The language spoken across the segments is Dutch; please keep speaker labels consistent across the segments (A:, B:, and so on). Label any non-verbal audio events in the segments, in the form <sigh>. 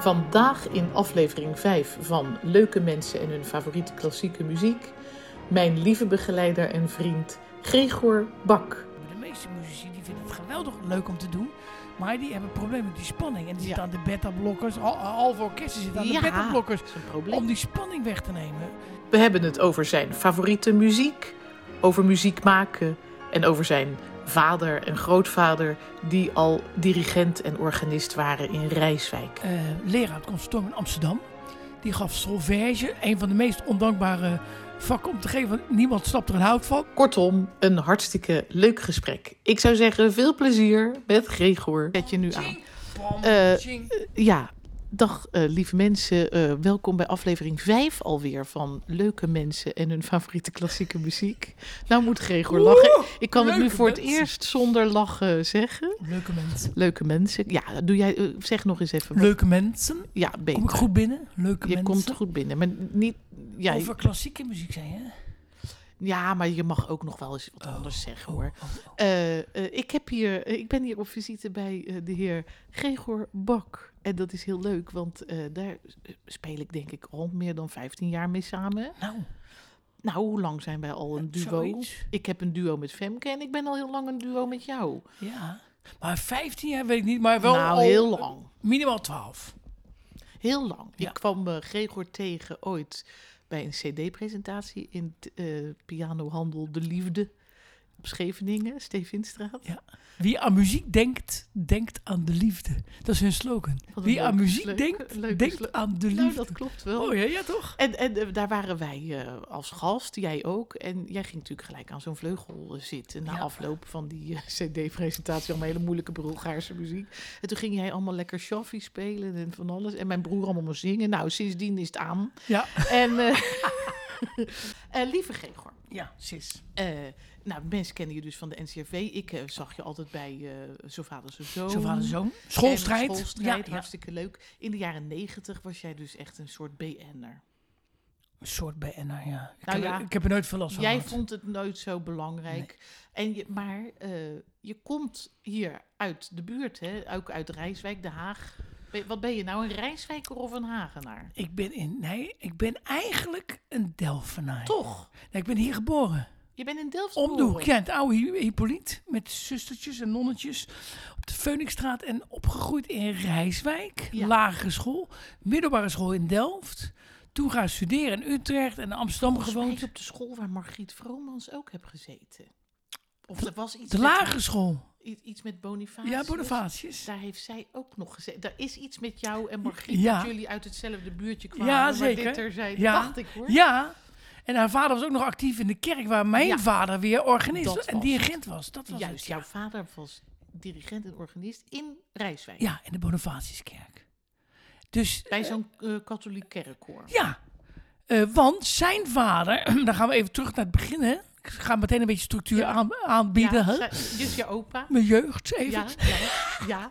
A: Vandaag in aflevering 5 van Leuke Mensen en hun favoriete klassieke muziek, mijn lieve begeleider en vriend Gregor Bak.
B: Maar de meeste muzici die vinden het geweldig leuk om te doen. Maar die hebben problemen met die spanning. En die zitten
A: Ja.
B: aan de beta-blokkers. Hal- Halve orkesten zitten aan
A: Ja.
B: de beta-blokkers.
A: Dat is een
B: Om
A: probleem.
B: die spanning weg te nemen.
A: Oh, We hebben het over zijn favoriete muziek, over muziek maken en over zijn vader en grootvader die al dirigent en organist waren in Rijswijk.
B: Eh, leraar aan het conservatorium in Amsterdam. Die gaf solfège. Een van de meest ondankbare vakken om te geven. want Niemand snapt er een hout van.
A: Kortom, een hartstikke leuk gesprek. Ik zou zeggen, veel plezier met Gregor. Zet je nu aan.
B: Tjing, pam,
A: Eh,
B: tjing.
A: Ja, dag eh, lieve mensen. Eh, welkom bij aflevering 5 alweer van Leuke Mensen en hun favoriete klassieke muziek. Nou moet Gregor lachen. Ik kan het nu
B: leuke
A: voor het
B: mensen.
A: eerst zonder lachen zeggen.
B: Leuke mensen.
A: Leuke mensen. Ja, doe jij, eh, zeg nog eens even. wat-
B: Leuke mensen.
A: Ja, beter.
B: Kom ik goed binnen? Leuke
A: je komt
B: mensen.
A: goed binnen. Maar, niet, ja,
B: Over klassieke muziek zijn, hè?
A: ja, maar je mag ook nog wel eens wat
B: Oh,
A: anders zeggen hoor. Eh, eh, ik, heb hier, eh, ik ben hier op visite bij eh, de heer Gregor Bak. En dat is heel leuk, want eh, daar eh, speel ik denk ik al meer dan 15 jaar mee samen.
B: Nou,
A: Nou, hoe lang zijn wij al een duo?
B: Eh, zoiets.
A: Ik heb een duo met Femke en ik ben al heel lang een duo met jou.
B: Ja. Maar 15 jaar weet ik niet, maar wel
A: nou,
B: al
A: heel lang.
B: minimaal 12.
A: Heel lang.
B: Ja.
A: Ik kwam eh, Gregor tegen ooit bij een cd-presentatie in het eh, pianohandel De Liefde op Scheveningen, Stevinstraat.
B: Ja. Wie aan muziek denkt, denkt aan de liefde. Dat is hun slogan.
A: Wat een
B: Wie aan
A: leuke
B: muziek
A: slo-
B: denkt,
A: leuke
B: denkt
A: slo-
B: aan de
A: Nou,
B: liefde.
A: dat klopt wel.
B: oh ja, ja toch?
A: En, en eh, daar waren wij eh, als gast, jij ook. En jij ging natuurlijk gelijk aan zo'n vleugel eh, zitten. Na
B: Ja.
A: afloop van die eh, <laughs> cd-presentatie, allemaal hele moeilijke Bulgaarse muziek. En toen ging jij allemaal lekker shaffi spelen en van alles. En mijn broer allemaal maar zingen. Nou, sindsdien is het
B: <laughs>
A: aan.
B: Ja.
A: En eh, <laughs> eh, lieve Gregor,
B: Ja, sis.
A: eh, nou, mensen kennen je dus van de NCRV. Ik eh, zag je altijd bij eh Zo Vader Zo Zoon.
B: Zo vader zoon.
A: En
B: Schoolstrijd.
A: Schoolstrijd,
B: Ja, ja.
A: hartstikke leuk. In de jaren negentig was jij dus echt een soort BN'er.
B: Een soort BN'er, ja. Ik,
A: Nou
B: heb,
A: ja.
B: ik heb er nooit veel last van
A: Jij
B: gehad.
A: vond het nooit zo belangrijk. En je, maar eh, je komt hier uit de buurt, hè? ook uit Rijswijk, Den Haag. Ben- Wat ben je nou, een Rijswijker of een Hagenaar?
B: Ik ben in... Nee, ik ben eigenlijk een Delvenaar.
A: Toch?
B: Nee, ik ben hier geboren.
A: Je bent in Delft
B: Om de
A: geboren.
B: hoek, ja, het oude Hy- Hippolyte met zustertjes en nonnetjes op de Phoenixstraat en opgegroeid in Rijswijk,
A: Ja.
B: lagere school, middelbare school in Delft, toen gaan studeren in Utrecht en in Amsterdam
A: Volgens mij
B: gewoond.
A: op de school waar Margriet Vromans ook heb gezeten. Of er was iets,
B: De
A: met-
B: lagere school,
A: i- iets met Bonifacius.
B: ja, Bonifatius.
A: Daar heeft zij ook nog gezeten. Daar is iets met jou en Margriet,
B: Ja.
A: dat jullie uit hetzelfde buurtje kwamen.
B: Ja,
A: maar
B: zeker.
A: dit terzijde,
B: Ja.
A: dacht ik hoor.
B: Ja, en haar vader was ook nog actief in de kerk waar mijn
A: Ja.
B: vader weer organist
A: Dat
B: was en
A: was
B: dirigent was. Dat was
A: Juist,
B: het, ja.
A: jouw vader was dirigent en organist in Rijswijk.
B: Ja, in de Bonifatiuskerk. Dus
A: Bij zo'n eh, katholiek kerkkoor.
B: Ja, eh, want zijn vader, <clears throat> dan gaan we even terug naar het begin. Hè. Ik ga meteen een beetje structuur aan, aanbieden. hè.
A: zij- dus je opa.
B: Mijn jeugd even.
A: Ja, ja, ja.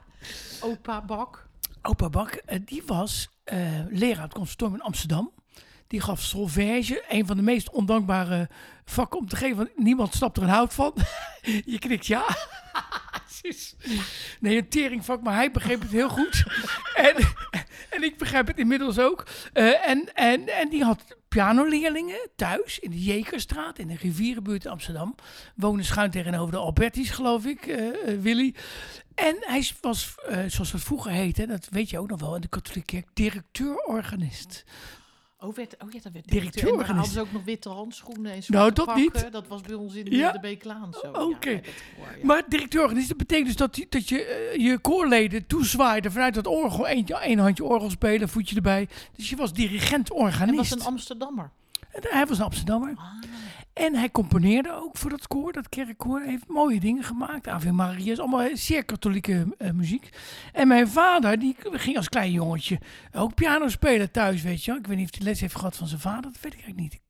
A: Opa Bak.
B: Opa Bak, eh, die was eh, leraar aan het conservatorium in Amsterdam. Die gaf solfège, een van de meest ondankbare vakken om te geven. Want niemand snapt er een hout van. <laughs> Je knikt ja. <laughs> Sis. Nee, een teringvak, maar hij begreep het heel goed. <laughs> en, en ik begrijp het inmiddels ook. Eh, en, en, en die had pianoleerlingen thuis in de Jekerstraat, in de rivierenbuurt in Amsterdam. Woonde schuin tegenover de Albertis, geloof ik, eh, eh, Willy. En hij s- was, eh, zoals dat vroeger heette, dat weet je ook nog wel, in de katholieke kerk, directeur-organist.
A: Oh, werd, oh ja, dat werd
B: Directeur
A: directeur. En daar hadden
B: organist.
A: ze ook nog witte handschoenen en
B: Nou,
A: zwarte
B: dat
A: pakken.
B: niet.
A: Dat was bij ons in
B: Ja. Oh,
A: de Beeklaan zo.
B: Oké.
A: Ja, bij dat koor, ja.
B: Maar directeur-organist, dat betekent dus dat, die- dat je eh, je koorleden toezwaaide vanuit dat orgel. Eén één handje orgel spelen, voetje erbij. Dus je was
A: Hij was
B: dirigent-organist.
A: een Amsterdammer.
B: En Hij was een Amsterdammer.
A: Ah,
B: En hij componeerde ook voor dat koor, dat kerkkoor. Hij heeft mooie dingen gemaakt. Ave Maria's, allemaal zeer katholieke eh, muziek. En mijn vader, die ging als klein jongetje ook piano spelen thuis, weet je wel. Ik weet niet of hij les heeft gehad van zijn vader, dat weet ik eigenlijk niet.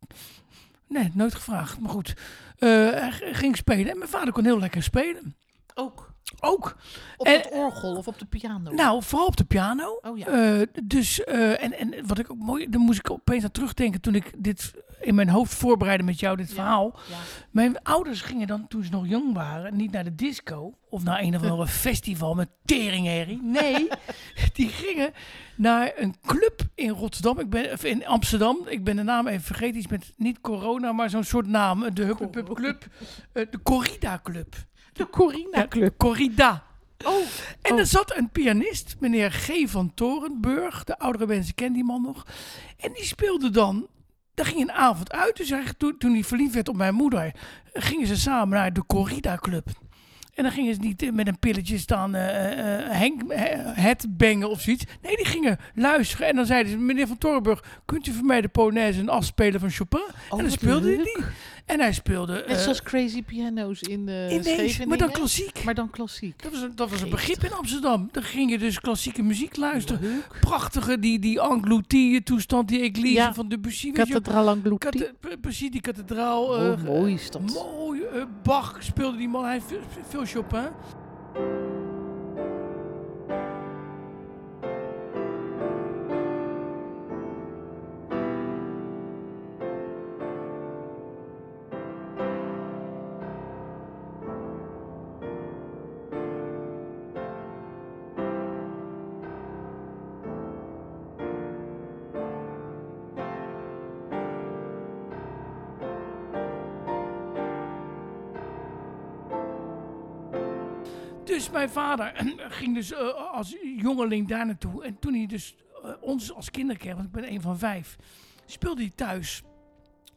B: Nee, nooit gevraagd. Maar goed, Eh, hij g- ging spelen. En mijn vader kon heel lekker spelen.
A: ook.
B: Ook.
A: Op
B: En-
A: het orgel of op de piano.
B: Nou, vooral op de piano.
A: Oh ja.
B: Eh, dus, eh, en, en wat ik ook mooi, daar moest ik opeens aan terugdenken toen ik dit in mijn hoofd voorbereiden met jou dit verhaal.
A: Ja.
B: Mijn ouders gingen dan, toen ze nog jong waren, niet naar de disco of naar een of andere festival met teringherrie. Nee, die gingen naar een club in Rotterdam. Ik ben, of in Amsterdam. Ik ben de naam even vergeten. Iets met niet corona, maar zo'n soort naam. De Huppepup Club. eh, de Corrida Club.
A: De Corina Club.
B: Corrida.
A: Oh,
B: En
A: Oh.
B: er zat een pianist, meneer G. van Torenburg. De oudere mensen kennen die man nog. En die speelde dan. Daar ging een avond uit. Dus hij, toen, toen hij verliefd werd op mijn moeder, gingen ze samen naar de Corrida Club. En dan gingen ze niet eh, met een pilletje staan eh, eh, Henk, eh, het bengen of zoiets. Nee, die gingen luisteren. En dan zeiden ze, meneer van Torenburg, kunt u voor mij de Polonaise en afspelen van Chopin? en dan
A: Oh, wat
B: speelde hij
A: leuk.
B: die. En hij speelde...
A: Net
B: eh,
A: zoals Crazy Piano's in, eh
B: in deze, maar dan
A: Scheveningen,
B: klassiek.
A: maar dan klassiek.
B: Dat was, een, dat was een
A: Geestig.
B: begrip in Amsterdam. Dan ging je dus klassieke muziek luisteren.
A: Leuk.
B: Prachtige, die, die Angloutille toestand, die Eglise
A: Ja.
B: van Debussy. weet je wel.
A: Kathedraal Anglouti.
B: Kate- pre- Precies, die kathedraal.
A: Oh,
B: eh,
A: mooi is dat.
B: mooi, eh, Bach speelde die man, hij heeft veel, veel Chopin. Dus mijn vader <clears throat> ging dus eh, als jongeling daar naartoe. En toen hij dus eh, ons als kinderen kreeg, want ik ben een van vijf, speelde hij thuis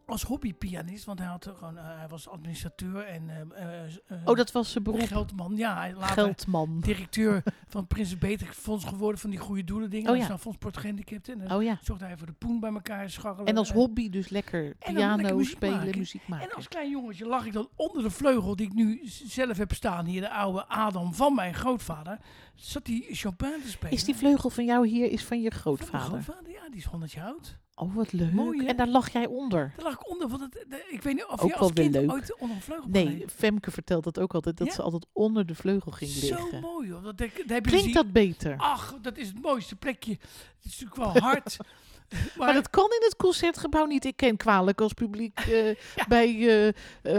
B: als hobbypianist. Want hij, had er gewoon, eh, hij was administrateur en eh, eh, eh,
A: Oh, dat was zijn beroep.
B: Geldman, ja. hij Later
A: Geldman.
B: directeur van het Prins Beter Fonds geworden van die goede doelen dingen.
A: Oh
B: Hij is
A: ja.
B: naar Fonds Portugese gehandicapten. En dan
A: Oh ja.
B: zorgde hij voor de poen bij elkaar scharrelen.
A: En als hobby dus lekker
B: dan
A: piano
B: lekker muziek
A: spelen,
B: maken.
A: muziek
B: En
A: maken.
B: als klein jongetje lag ik dan onder de vleugel die ik nu z- zelf heb staan. Hier de oude Adam van mijn grootvader. Zat die Chopin te spelen.
A: Is die vleugel van jou hier is van je
B: Van mijn
A: grootvader?
B: grootvader, ja. Die is 100 jaar oud.
A: Oh, wat leuk.
B: Mooi, hè?
A: en daar lag jij onder.
B: Daar lag ik onder. Want het, de- ik weet niet of
A: Ook
B: je als
A: wel weer
B: kind
A: leuk.
B: ooit onder een vleugel kon
A: Nee,
B: liggen.
A: Femke vertelt dat ook altijd, dat
B: Oh, Ja?
A: ze altijd onder de vleugel ging
B: Zo
A: liggen.
B: mooi hoor. Dat, dat, dat heb
A: Klinkt
B: je dus die-
A: dat beter?
B: Ach, dat is het mooiste plekje. Het is natuurlijk wel hard.
A: <laughs> Maar dat kan in het concertgebouw niet. Ik ken kwalijk als publiek
B: <laughs>
A: eh, bij eh,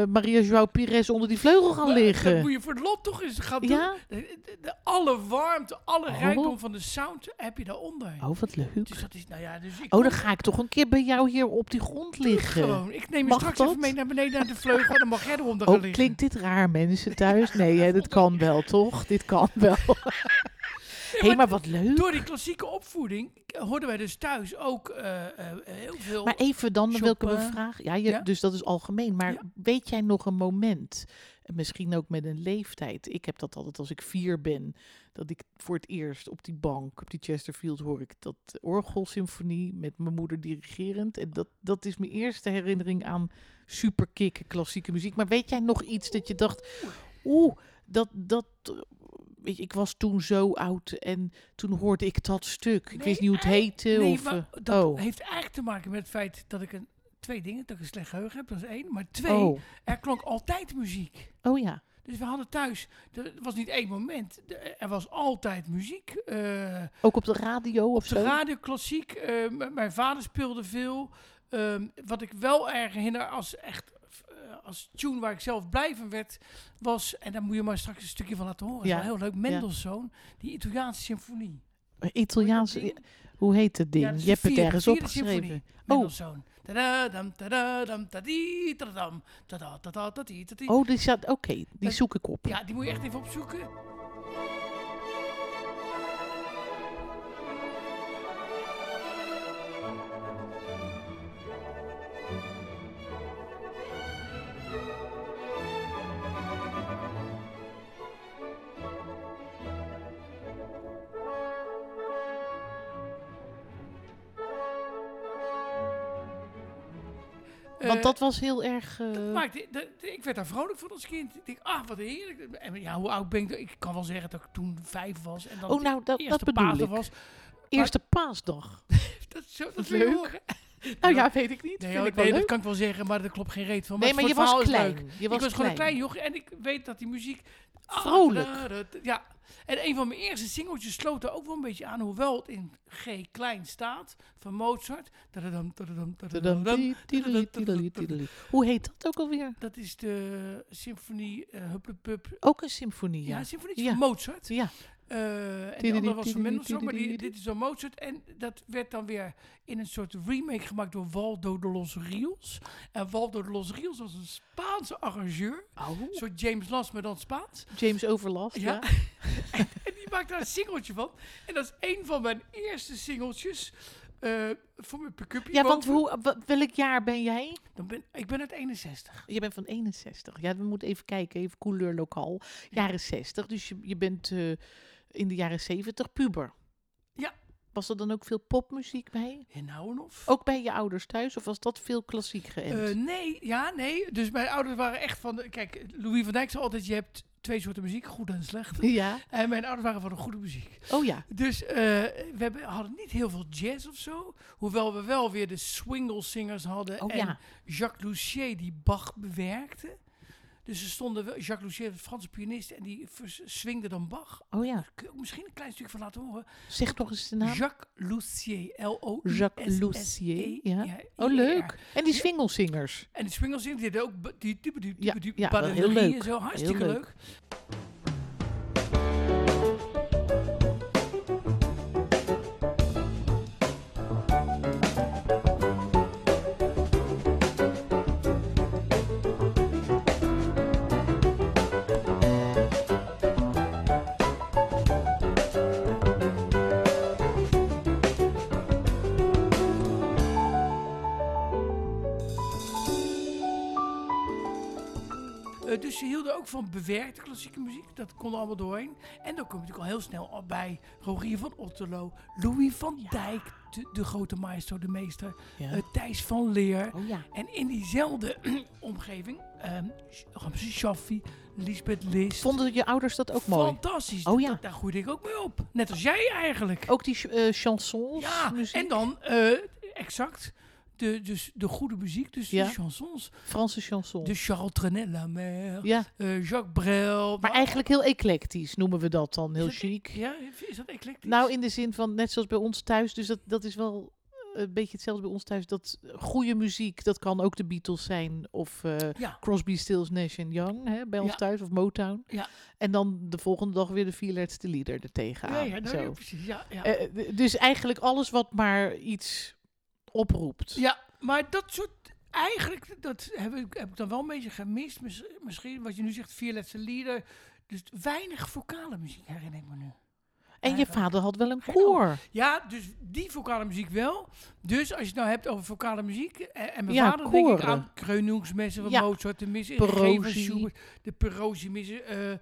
A: eh, Maria Joao Pires onder die vleugel gaan
B: Maar <laughs> Dat
A: liggen.
B: moet je voor het lot toch eens gaan doen.
A: Ja?
B: De, de- de- alle warmte, alle
A: Oh.
B: rijkdom van de sound heb je daaronder.
A: Oh, wat leuk.
B: Dus dat is, nou ja, dus ik
A: Oh, dan ga ik toch een keer bij jou hier op die grond
B: doe het
A: liggen. Oh,
B: gewoon. Ik neem je
A: Mag
B: straks
A: dat?
B: even mee naar beneden naar de vleugel. Dan mag jij
A: <laughs>
B: eronder gaan
A: Oh,
B: liggen.
A: klinkt dit raar,
B: <laughs>
A: mensen thuis? Nee, hè, dit kan wel, toch? Dit kan wel. Hé, maar wat leuk.
B: Door die klassieke opvoeding hoorden wij dus thuis ook eh, eh, heel veel.
A: Maar even dan, dan wil ik hem een
B: Chopin.
A: vraag. Ja, je,
B: Ja?
A: dus dat is algemeen. Maar
B: Ja.
A: weet jij nog een moment, en misschien ook met een leeftijd. Ik heb dat altijd als ik vier ben, dat ik voor het eerst op die bank, op die Chesterfield, hoor ik dat orgelsymfonie met mijn moeder dirigerend. En dat, dat is mijn eerste herinnering aan superkick klassieke muziek. Maar weet jij nog iets dat je dacht, oeh, dat... dat eh, Weet je, ik was toen zo oud en toen hoorde ik dat stuk. Ik
B: Nee,
A: wist niet hoe het heette.
B: nee,
A: of,
B: maar
A: eh,
B: dat
A: oh.
B: heeft eigenlijk te maken met het feit dat ik een, twee dingen, dat ik een slecht geheugen heb, dat is één. Maar twee,
A: oh.
B: er klonk altijd muziek.
A: oh ja.
B: Dus we hadden thuis, er was niet één moment, de- er was altijd muziek. eh
A: Ook op de radio of
B: op de
A: zo?
B: radio klassiek, eh, m- mijn vader speelde veel. Ehm, wat ik wel erg herinner als echt eh, als tune waar ik zelf blij van werd, was, en daar moet je maar straks een stukje van laten horen, is
A: Ja,
B: wel heel leuk, Mendelssohn, die Italiaanse symfonie.
A: Italiaanse,
B: Hoor je dat ding?
A: hoe heet het ding?
B: Oh, Ja, dat is
A: je hebt
B: de
A: het
B: vierde-
A: ergens
B: vierde
A: opgeschreven. Oh.
B: symfonie, Mendelssohn. Tadadam, tadadam, tadi, tadadam, tadadadadi, tadi.
A: Oh, die staat, oké, die
B: Dat-
A: zoek ik op.
B: Ja, die moet je echt even opzoeken.
A: Want
B: Eh,
A: dat was heel erg... eh,
B: dat maakte, dat- ik werd daar vrolijk van als kind. Ik dacht, ah, wat heerlijk. En ja, hoe oud ben ik? Ik kan wel zeggen dat ik toen vijf was. En dat
A: oh, nou, dat, dat
B: eerste
A: bedoel
B: Pasen
A: ik.
B: was.
A: Eerste paasdag.
B: Dat, is zo,
A: Dat
B: dat
A: is
B: wil je
A: leuk.
B: horen.
A: Nou ja, weet ik niet.
B: Nee,
A: Vind
B: hoor,
A: ik wel
B: nee, dat
A: leuk.
B: kan ik wel zeggen, maar dat klopt geen reet van.
A: nee, maar je
B: het verhaal
A: was
B: is leuk.
A: klein. Je was,
B: ik was gewoon een klein jochie en ik weet dat die muziek... Ah,
A: Vrolijk.
B: da, da, da, ja, En een van mijn eerste singeltjes sloot daar ook wel een beetje aan, hoewel het in G klein staat van Mozart. Tadadam, tadadam, tadadam, tadadam, tadadam, tadadam, tadadam.
A: Hoe heet dat ook alweer?
B: Dat is de symfonie eh Hupplepup.
A: Ook een symfonie,
B: Ja,
A: ja.
B: symfonie
A: Ja.
B: van Mozart.
A: Ja,
B: Eh, en de
A: Tididi,
B: andere was van
A: tididi,
B: Mendelssohn, maar die,
A: tididi.
B: dit is dan Mozart. En dat werd dan weer in een soort remake gemaakt door Waldo de Los Rios. En Waldo de Los Rios was een Spaanse arrangeur.
A: oh.
B: Een soort James Last, maar dan Spaans.
A: James Overlast,
B: Ja.
A: ja.
B: En die maakte daar een singeltje van. En dat is een van mijn eerste singeltjes eh, voor mijn pick-upje.
A: Ja, want hoe, wa- welk jaar ben jij?
B: Dan ben, ik ben uit 61.
A: Je bent van 61. Ja, we moeten even kijken, even couleur lokaal. Jaren 60, dus je, je bent eh, in de jaren 70 puber.
B: Ja.
A: Was er dan ook veel popmuziek bij?
B: En nou en of.
A: Ook bij je ouders thuis? Of was dat veel klassiek geënt?
B: Eh, nee, ja, nee. Dus mijn ouders waren echt van... de- Kijk, Louis van Dijk zei altijd... Je hebt twee soorten muziek, goede en slechte.
A: <laughs> ja.
B: En mijn ouders waren van de goede muziek.
A: Oh ja.
B: Dus eh, we hebben, hadden niet heel veel jazz of zo. Hoewel we wel weer de swinglesingers hadden.
A: Oh
B: Eh, en
A: ja.
B: Jacques Lussier die Bach bewerkte. Dus er stonden wel, Jacques Lussier, een Franse pianist, en die vers- swingde dan Bach.
A: Oh ja.
B: Kun je ook misschien een klein stukje van laten horen?
A: Zeg toch eens de naam.
B: Jacques Lussier, l o
A: Nou. Jacques Lussier, ja. Oh, leuk. En die
B: Ja.
A: swingelsingers.
B: En de swinglesingers die deden ook b- die type die,
A: Ja,
B: die, die
A: ja, wel heel
B: balladerie
A: leuk.
B: en zo. Hartstikke
A: Heel leuk.
B: leuk. Eh, dus ze hielden ook van bewerkte klassieke muziek. Dat kon er allemaal doorheen. En dan kom je natuurlijk al heel snel al bij Rogier van Otterlo, Louis van Dijk, de, de grote maestro, de meester,
A: Ja.
B: eh, Thijs van Leer.
A: Oh ja.
B: En in diezelfde <clears throat> omgeving, ehm Ramses Shaffi, Lisbeth List.
A: Vonden je ouders dat ook mooi?
B: Fantastisch.
A: Oh ja.
B: Dat- daar groeide ik ook mee op. Net als jij eigenlijk.
A: Ook die ch- eh, chansons?
B: ja,
A: muziek?
B: en dan, eh, exact, de, dus de goede muziek, dus
A: Ja.
B: de chansons.
A: Franse chansons.
B: De Charles Trenet, La Mer,
A: ja.
B: Dus, eh, Jacques Brel.
A: Maar eigenlijk heel eclectisch noemen we dat dan, heel
B: Is dat-
A: chic.
B: Ja, is dat eclectisch?
A: Nou, in de zin van net zoals bij ons thuis, dus dat, dat is wel een beetje hetzelfde bij ons thuis. Dat goede muziek, dat kan ook de Beatles zijn of eh,
B: Ja,
A: Crosby, Stills, Nash Young hè, bij ons
B: Ja.
A: thuis of Motown.
B: Ja.
A: En dan de volgende dag weer de vierletste lieder er tegenaan.
B: ja, ja, nou,
A: zo.
B: ja, precies. Ja, ja.
A: Eh, d- dus eigenlijk alles wat maar iets oproept.
B: ja, maar dat soort... Eigenlijk, dat heb ik, heb ik dan wel een beetje gemist. Miss- Misschien, wat je nu zegt, vierletste lieder. Dus weinig vocale muziek, herinner ik me nu.
A: en je
B: eigenlijk.
A: vader had wel een
B: Geen
A: koor.
B: Ja, dus die vocale muziek wel. Dus als je het nou hebt over vocale muziek... eh, En, en mijn
A: Ja,
B: vader denk ik
A: koren.
B: aan Kreunungsmessen van
A: Ja.
B: Mozart, de missen,
A: Perosi.
B: Geven, Schubert, de Perosi-missen, eh, eh,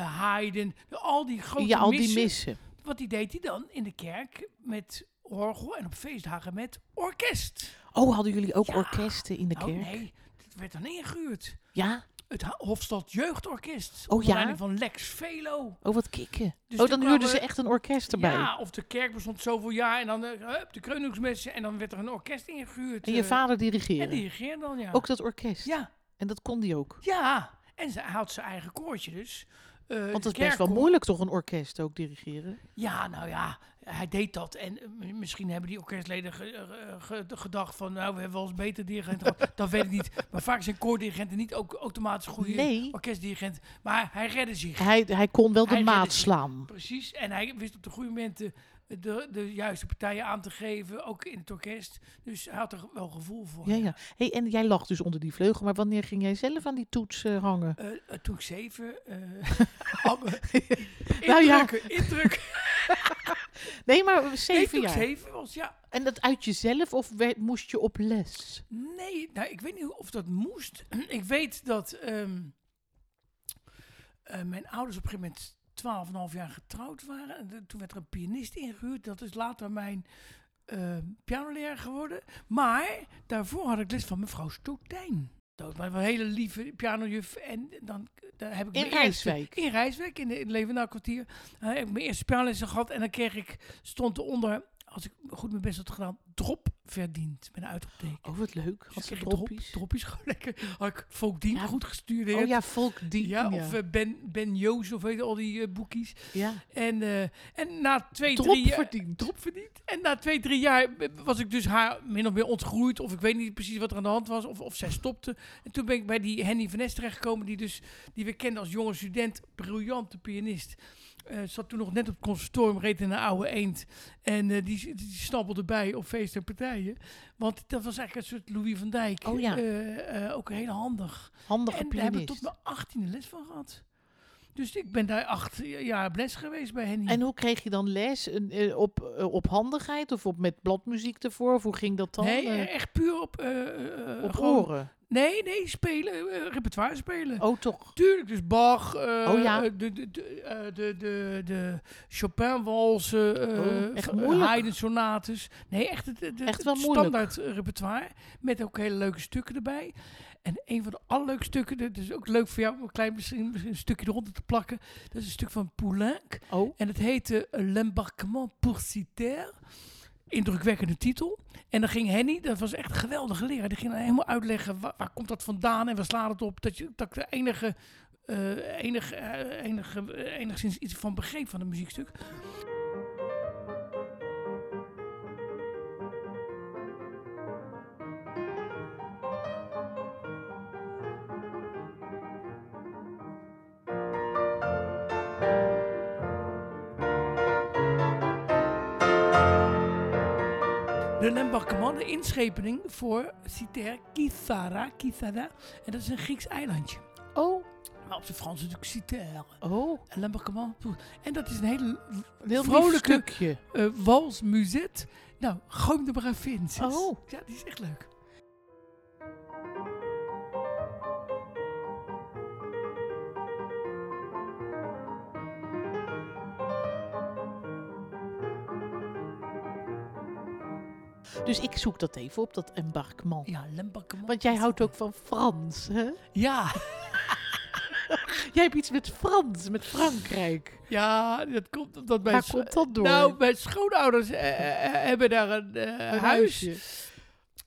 B: Haydn. Al die grote
A: Ja, al die
B: missen.
A: missen.
B: Wat die deed hij dan in de kerk met orgel en op feestdagen met orkest.
A: Oh, hadden jullie ook
B: Ja.
A: orkesten in de kerk?
B: Nou, nee, dat werd dan ingehuurd.
A: Oh, Ja?
B: Het Ha- Hofstad Jeugdorkest.
A: Oh,
B: onder
A: ja?
B: leiding van Lex Velo.
A: Oh, wat kikken.
B: Dus
A: oh,
B: toen
A: dan huurden
B: kwamen-
A: ze echt een orkest erbij.
B: Ja, of de kerk bestond zoveel jaar en dan eh, hup, de kreuningsmessen en dan werd er een orkest ingehuurd.
A: En je
B: eh,
A: vader dirigeren.
B: En die regeerde dan, ja.
A: Ook dat orkest.
B: Ja,
A: En dat kon die ook.
B: ja. En ze had zijn eigen koortje dus. Eh, de
A: Want het is best wel
B: kerkkoor-
A: moeilijk toch een orkest ook dirigeren.
B: Ja, nou ja, hij deed dat. En eh, m- misschien hebben die orkestleden ge- eh, ge- gedacht van... nou, we hebben wel eens beter dirigenten
A: <laughs>
B: gehad. dat weet ik niet. Maar vaak zijn koordirigenten niet ook automatisch goede
A: Nee.
B: orkestdirigenten. Maar hij redde zich.
A: Hij, hij kon wel de
B: Hij redde
A: maat
B: zich.
A: slaan.
B: Precies. En hij wist op de goede momenten eh, de, de juiste partijen aan te geven. Ook in het orkest. Dus hij had er wel gevoel voor.
A: Ja, ja. Hey, en jij lag dus onder die vleugel, maar wanneer ging jij zelf aan die toets eh,
B: <laughs>
A: hangen?
B: Eh, eh, toen ik
A: <laughs>
B: zeven... eh <laughs> hangen.
A: Nou ja.
B: Indrukken, indrukken.
A: Nee, maar eh,
B: Nee,
A: zeven
B: toen ik
A: jaar.
B: zeven was, ja.
A: En dat uit jezelf of werd- moest je op les?
B: Nee, nou, ik weet niet of dat moest. <clears throat> ik weet dat ehm, eh, mijn ouders op een gegeven moment 12,5 jaar getrouwd waren. En de- toen werd er een pianist ingehuurd. Dat is later mijn ehm pianoleraar geworden. Maar daarvoor had ik les van mevrouw Stotijn. Dat was een hele lieve pianojuf. En dan, dan heb ik
A: In
B: mijn eerste-
A: Rijswijk?
B: in Rijswijk, in, de, in het Levenaar kwartier. Eh, heb ik mijn eerste pianolessen gehad. En dan kreeg ik, stond eronder, als ik goed mijn best had gedaan, drop verdiend met een uitroepteken.
A: Oh, wat leuk. Had ze
B: Zeg je drop-
A: droppies?
B: Droppies <laughs> gewoon lekker. Had ik Volkdien
A: Ja.
B: goed gestuurd.
A: Oh ja, volk die.
B: Ja,
A: ja.
B: of eh, Ben, ben Joos of weet je, al die eh, boekies.
A: ja.
B: En, eh, en na twee,
A: Drop
B: drie eh, jaar...
A: verdiend.
B: Drop verdiend. En na twee, drie jaar was ik dus haar min of meer ontgroeid. Of ik weet niet precies wat er aan de hand was. Of, of zij stopte. En toen ben ik bij die Henny van Ness terechtgekomen. Die, dus, die we kenden als jonge student. Briljante pianist. Eh, zat toen nog net op het conservatorium. Reed in een oude eend. En eh, die, die, snappelde bij op feesten en partijen. Want dat was eigenlijk een soort Louis van Dijk.
A: Oh ja.
B: Eh, eh, ook heel handig.
A: Handige
B: En daar heb ik
A: pianist.
B: tot mijn achttiende les van gehad. Dus ik ben daar acht jaar op les geweest bij Henny.
A: En hoe kreeg je dan les? Een, eh, Op, eh, op handigheid of op met bladmuziek ervoor? Of hoe ging dat dan?
B: nee,
A: Eh,
B: e- echt puur op... eh, eh,
A: op
B: gewoon-
A: oren?
B: Nee, nee, spelen. eh, repertoire spelen.
A: Oh, toch?
B: Tuurlijk, dus Bach, eh,
A: Oh ja.
B: eh, de, de, de, eh, de, de, de Chopin-walsen, eh,
A: Oh, echt
B: eh,
A: moeilijk.
B: Haydn-sonates. Nee, echt het, het,
A: Echt wel
B: het
A: moeilijk.
B: standaard eh, repertoire. Met ook hele leuke stukken erbij. En een van de allerleukste stukken, dat is ook leuk voor jou om een klein misschien, misschien een stukje eronder te plakken. Dat is een stuk van Poulenc.
A: Oh,
B: En het heette L'embarquement Pourcitaire. Indrukwekkende titel. En dan ging Henny, dat was echt een geweldige leraar, die ging dan helemaal uitleggen waar, waar komt dat vandaan en waar slaat het op. Dat, je, dat ik de enige, eh, enige, eh, enige, eh, enigszins iets van begreep van het muziekstuk. De Lembarquement, de inschepening voor Citer Kithara, Kithara. En dat is een Grieks eilandje.
A: oh,
B: Maar op zijn Frans natuurlijk Citer.
A: oh.
B: Lembarquement. En dat is een hele
A: Een heel
B: Vrolijke-
A: vrolijk stukje.
B: eh wals muzet. Nou, gooi hem er maar even in. sis.
A: Oh.
B: Ja, die is echt leuk.
A: Dus ik zoek dat even op, dat embarquement.
B: Ja, Lembarquement.
A: Want jij houdt ook van Frans, hè?
B: Ja,
A: Jij hebt iets met Frans, met Frankrijk.
B: ja, dat komt omdat mijn...
A: Waar
B: scho-
A: komt dat door?
B: Nou, mijn schoonouders eh, eh, eh, hebben daar een, eh,
A: Een
B: huis,
A: huisje.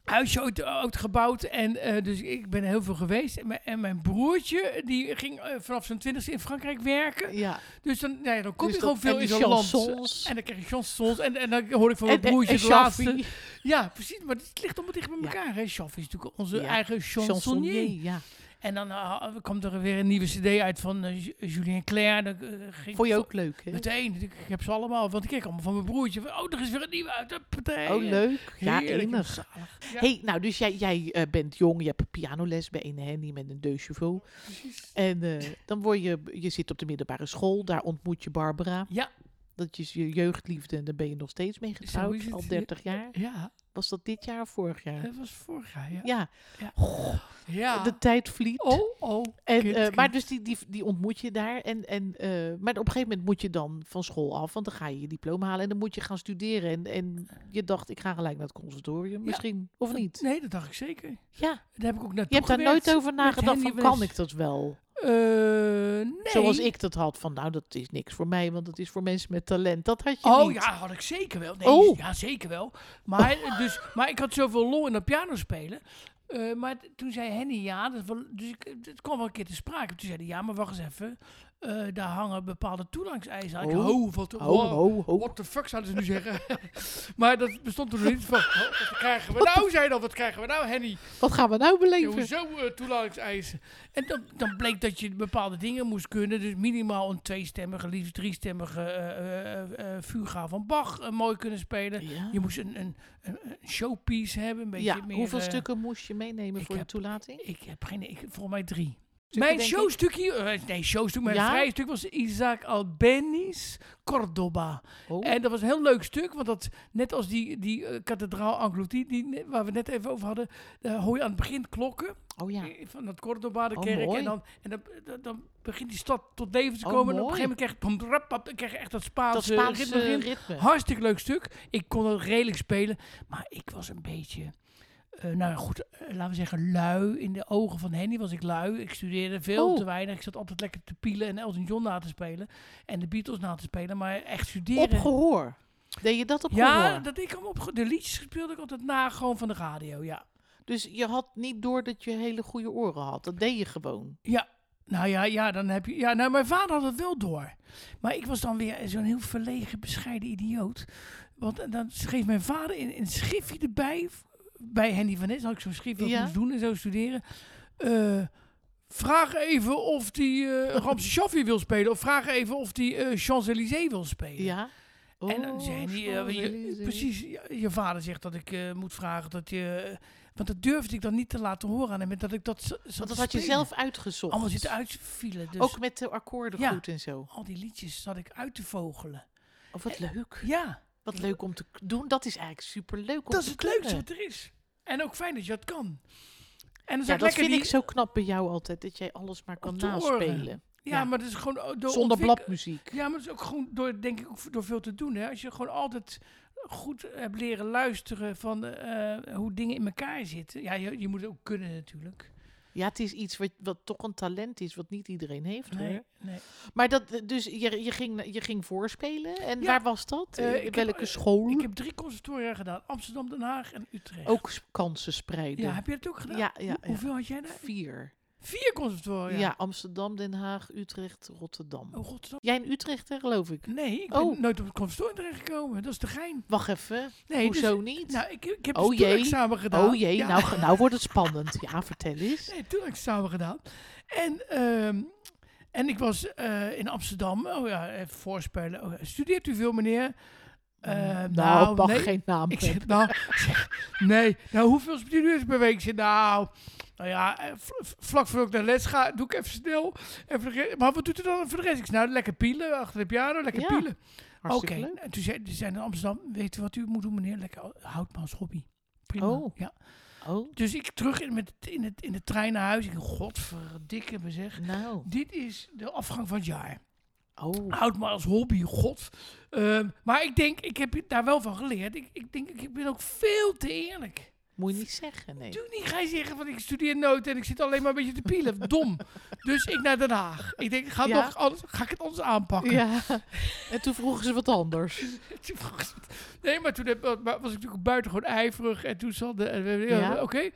B: huisje ooit, ooit gebouwd. En eh, dus ik ben heel veel geweest. En mijn, en mijn broertje, die ging eh, vanaf zijn twintigste in Frankrijk werken.
A: Ja.
B: Dus dan, nou ja, dan kom
A: Dus
B: je
A: dat-
B: gewoon veel
A: en
B: in
A: die
B: zo'n land.
A: chansons.
B: En dan krijg je chansons. En, en dan hoor ik van mijn
A: En, en,
B: broertje
A: en
B: de laatste...
A: Chaffee.
B: Ja, precies. Maar het ligt allemaal dicht bij
A: Ja.
B: elkaar. hè. Chaff is natuurlijk onze
A: Ja.
B: eigen chansonnier.
A: Chansonnier, ja.
B: En dan eh, komt er weer een nieuwe cd uit van eh, Ju- Julien Clerc. Dan, eh, ging
A: Vond je ook leuk, hè?
B: Meteen. Ik ik heb ze allemaal. Want ik kreeg allemaal van mijn broertje. Van, oh, er is weer een nieuwe uit. Huppatee.
A: Oh, leuk. Ja,
B: Heerlijk,
A: enig.
B: zalig. Ja,
A: Hey, nou, dus jij, jij eh, bent jong, je hebt pianoles bij een handy met een deux chevaux.
B: precies.
A: En eh, dan word je, je zit op de middelbare school, daar ontmoet je Barbara.
B: Ja,
A: Dat is je jeugdliefde en daar ben je nog steeds mee
B: is
A: getrouwd,
B: het.
A: al 30 jaar.
B: ja,
A: Was dat dit jaar of vorig jaar?
B: dat was vorig jaar. Ja.
A: Ja,
B: ja.
A: de tijd vliegt.
B: Oh, oh.
A: En,
B: kind,
A: eh,
B: kind.
A: maar dus die, die, die ontmoet je daar. En, en, eh, maar op een gegeven moment moet je dan van school af. Want dan ga je je diploma halen en dan moet je gaan studeren. En, en je dacht, ik ga gelijk naar het conservatorium misschien. Of niet?
B: Nee, dat dacht ik zeker.
A: Ja,
B: Daar heb ik ook naartoe
A: je hebt daar
B: gewerkt.
A: nooit over nagedacht
B: Henny
A: van,
B: was-
A: kan ik dat wel?
B: Eh, nee.
A: Zoals ik dat had van, nou dat is niks voor mij. Want dat is voor mensen met talent. Dat had je
B: Oh
A: niet.
B: ja, had ik zeker wel. Nee,
A: Oh.
B: ja, zeker wel. Maar, dus, maar ik had zoveel lol in dat piano spelen. Eh, maar t- toen zei Henny ja, dat is wel- dus ik, het kwam wel een keer te sprake. Toen zei hij ja, maar wacht eens even. eh, daar hangen bepaalde toelangsijzen aan. Ik
A: Oh.
B: ho, wat, ho,
A: Ho, ho, ho.
B: what the fuck zouden ze nu zeggen? <laughs> maar dat bestond toen nog niet. Van, "Oh, wat krijgen we nou, zei hij dan. Wat krijgen we nou, Henny?
A: Wat gaan we nou
B: Ja,
A: beleven?
B: hoezo eh, toelatingseisen? En dan, dan bleek dat je bepaalde dingen moest kunnen. Dus minimaal een tweestemmige, liefst driestemmige eh, eh, eh, fuga van Bach eh, mooi kunnen spelen.
A: Ja,
B: Je moest een, een, een, een showpiece hebben. Een beetje
A: ja
B: meer,
A: hoeveel
B: eh,
A: stukken moest je meenemen
B: ik
A: voor je
B: heb-
A: toelating?
B: Ik heb geen... Ik, volgens mij drie.
A: Stukken,
B: mijn
A: denk ik.
B: showstukje... eh, nee, showstuk. Mijn
A: Ja?
B: vrije stuk was Isaac Albeni's Cordoba.
A: Oh.
B: En dat was een heel leuk stuk, want dat, net als die, die eh, kathedraal Anglouti, die, ne- waar we net even over hadden, daar hoor je aan het begin klokken.
A: oh ja.
B: Eh, van dat Cordoba, de
A: Oh,
B: kerk.
A: mooi.
B: En, dan, en dan, dan, dan begint die stad tot leven te
A: Oh,
B: komen. en op een
A: mooi.
B: gegeven moment krijg je, pam, drap, pap, dan krijg je echt dat
A: Dat
B: Spaanse, ritme
A: Spaanse
B: erin.
A: ritme.
B: Hartstikke leuk stuk. Ik kon het redelijk spelen. Maar ik was een beetje... eh, nou ja, goed, eh, laten we zeggen lui. In de ogen van Henny was ik lui. Ik studeerde veel
A: Oh.
B: te weinig. Ik zat altijd lekker te pielen en Elton John na te spelen. En de Beatles na te spelen. Maar echt studeren...
A: Op gehoor. Deed je dat op
B: Ja,
A: gehoor?
B: dat ik hem op de liedjes speelde ik altijd na gewoon van de radio, ja.
A: Dus je had niet door dat je hele goede oren had. Dat deed je gewoon.
B: Ja, nou ja, ja dan heb je. Ja, nou, mijn vader had het wel door. Maar ik was dan weer zo'n heel verlegen, bescheiden idioot. Want eh, dan schreef mijn vader in, in een schriftje erbij. v- Bij Henny van Nes had ik zo'n schriftje dat ik
A: Ja.
B: moest doen en zo studeren. Eh, vraag even of die eh Ramse Shaffi wil spelen. Of vraag even of die eh, Champs-Élysées wil spelen.
A: Ja.
B: En dan zei hij, eh,
A: Oh,
B: je,
A: Champs-Élysées.
B: precies, je, je vader zegt dat ik eh, moet vragen dat je... eh, Want dat durfde ik dan niet te laten horen aan hem. en Dat ik dat z- zat
A: Want
B: te
A: dat had je
B: spelen.
A: zelf uitgezocht.
B: Allemaal zitten uitvielen. Dus
A: Ook met de akkoorden
B: Ja.
A: goed en zo.
B: al die liedjes zat ik uit te vogelen.
A: Oh, wat leuk.
B: Ja,
A: Wat leuk om te k- doen. Dat is eigenlijk superleuk om
B: dat is
A: te
B: het leukste
A: kunnen.
B: wat er is. En ook fijn dat je dat kan. En dan zat
A: Ja, dat
B: ik lekker
A: vind
B: die,
A: ik zo knap bij jou altijd. Dat jij alles maar kan
B: Op de oren.
A: naspelen.
B: Ja,
A: ja.
B: maar dat is gewoon door
A: Zonder
B: ontwik-
A: bladmuziek.
B: Ja, maar dat is ook gewoon door, denk ik, ook door veel te doen. Hè? Als je gewoon altijd goed hebt leren luisteren van eh, hoe dingen in elkaar zitten. Ja, je, je moet het ook kunnen natuurlijk.
A: Ja, het is iets wat, wat toch een talent is. Wat niet iedereen heeft.
B: Nee,
A: hoor.
B: nee.
A: Maar dat, dus je, je, ging, je ging voorspelen. En
B: Ja.
A: waar was dat?
B: Eh,
A: In
B: ik heb-
A: welke
B: eh,
A: school?
B: Ik heb drie conservatoria gedaan. Amsterdam, Den Haag en Utrecht.
A: Ook s- kansen spreiden.
B: Ja, heb je dat ook gedaan?
A: Ja, ja,
B: Hoe-
A: ja.
B: Hoeveel had jij daar?
A: Vier.
B: Vier
A: Ja.
B: conservatoria.
A: Amsterdam, Den Haag, Utrecht, Rotterdam.
B: Oh, godsnaam.
A: Jij in Utrecht, hè, geloof ik.
B: Nee, ik ben
A: Oh.
B: nooit op het conservatorium terechtgekomen. Dat is de gein.
A: Wacht even.
B: Nee,
A: Hoezo
B: dus-
A: niet?
B: nou, ik, ik heb
A: Oh,
B: een
A: jee.
B: toelexamen gedaan.
A: oh jee,
B: Ja,
A: nou, ge- nou wordt
B: <laughs>
A: het spannend. Ja, vertel eens.
B: Nee, toelexamen gedaan. En, ehm, en ik was eh, in Amsterdam. Oh ja, even voorspelen. Oh, ja. Studeert u veel, meneer? Eh,
A: nou,
B: nou,
A: mag
B: nee.
A: geen naam.
B: Ik
A: hebben.
B: zeg, nou, ik zeg, nee. Nou, hoeveel studeert u per week? Ik zeg, nou, nou ja, eh, v- v- vlak voor ik naar les ga, doe ik even snel. En voor de re- maar wat doet u dan voor de rest? Ik zeg, nou, lekker pielen achter de piano, lekker
A: Ja.
B: pielen. Oké,
A: Hartstikke leuk.
B: en toen zei ze in Amsterdam, weet u wat u moet doen meneer? Lekker hout maar als hobby. Prima.
A: Oh.
B: Ja.
A: Oh,
B: Dus ik terug in, met, in, het, in de trein naar huis. Ik denk, godverdikke me zeg.
A: nou.
B: Dit is de afgang van het jaar.
A: Oh,
B: Houd maar als hobby, god. Ehm, maar ik denk, ik heb daar wel van geleerd. Ik, ik denk, ik ben ook veel te eerlijk.
A: moet je niet zeggen, nee.
B: Doe niet, ga je zeggen van ik studeer nooit en ik zit alleen maar een beetje te pielen. Dom. Dus ik naar Den Haag. Ik denk, ik ga,
A: Ja.
B: nog, anders, ga ik het anders aanpakken.
A: Ja, <laughs> en toen vroegen ze wat anders.
B: <laughs> Toen vroeg ze het. Nee, maar toen heb- was ik natuurlijk buitengewoon ijverig. En toen zat de... en we-
A: Ja.
B: Oké.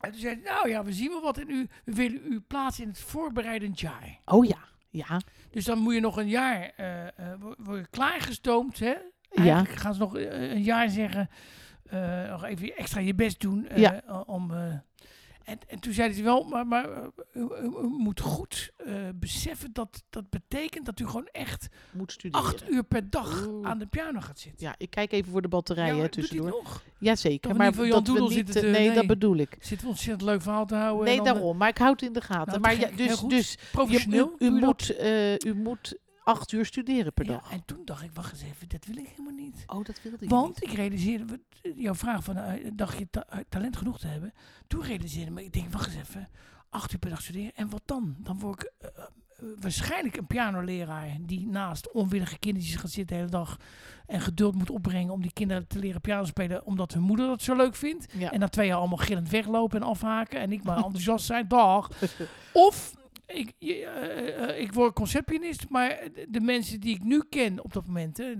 B: En toen zei hij, nou ja, we zien wel wat in u. We willen u plaatsen in het voorbereidend jaar.
A: Oh ja, ja.
B: Dus dan moet je nog een jaar... eh eh, wo- word je klaargestoomd, hè?
A: Ja.
B: Eigenlijk gaan ze nog eh, een jaar zeggen... eh, nog even extra je best doen eh,
A: Ja.
B: o- om... eh, en, en toen zeiden ze wel, maar, maar eh, u, u- u moet goed eh, beseffen dat dat betekent dat u gewoon echt
A: Moet studeren.
B: acht uur per dag
A: Oeh.
B: aan de piano gaat zitten.
A: Ja, ik kijk even voor de batterijen hè,
B: maar doet hij
A: tussendoor.
B: het nog? Dat
A: Jazeker,
B: we
A: maar
B: niet voor Jan
A: dat we
B: Doedel
A: niet...
B: zitten
A: eh,
B: te-
A: nee,
B: nee.
A: dat bedoel ik.
B: Zit een ontzettend leuk verhaal te houden. en
A: Nee,
B: dan, eh,
A: daarom. Maar ik houd het in de gaten.
B: Nou, te
A: maar ja,
B: gek. Heel
A: dus,
B: goed.
A: dus je,
B: professioneel.
A: u, u
B: doe je dat?
A: moet, eh, u moet acht uur studeren per
B: Ja,
A: dag.
B: en toen dacht ik, wacht eens even, dat wil ik helemaal niet.
A: Oh, dat wilde ik
B: <laughs> Want ik realiseerde, wat- jouw vraag van, eh, dacht je ta- eh, talent genoeg te hebben? Toen realiseerde ik me, ik denk, wacht eens even, acht uur per dag studeren. En wat dan? Dan word ik eh, eh, waarschijnlijk een pianoleraar die naast onwillige kindertjes gaat zitten de hele dag. En geduld moet opbrengen om die kinderen te leren piano spelen, omdat hun moeder dat zo leuk vindt.
A: niet. Ja.
B: En na twee jaar allemaal gillend weglopen en afhaken. En ik maar enthousiast zijn. Dag. Of ik, je- eh, eh, ik word conceptpianist. Maar de mensen die ik nu ken op dat moment, hè,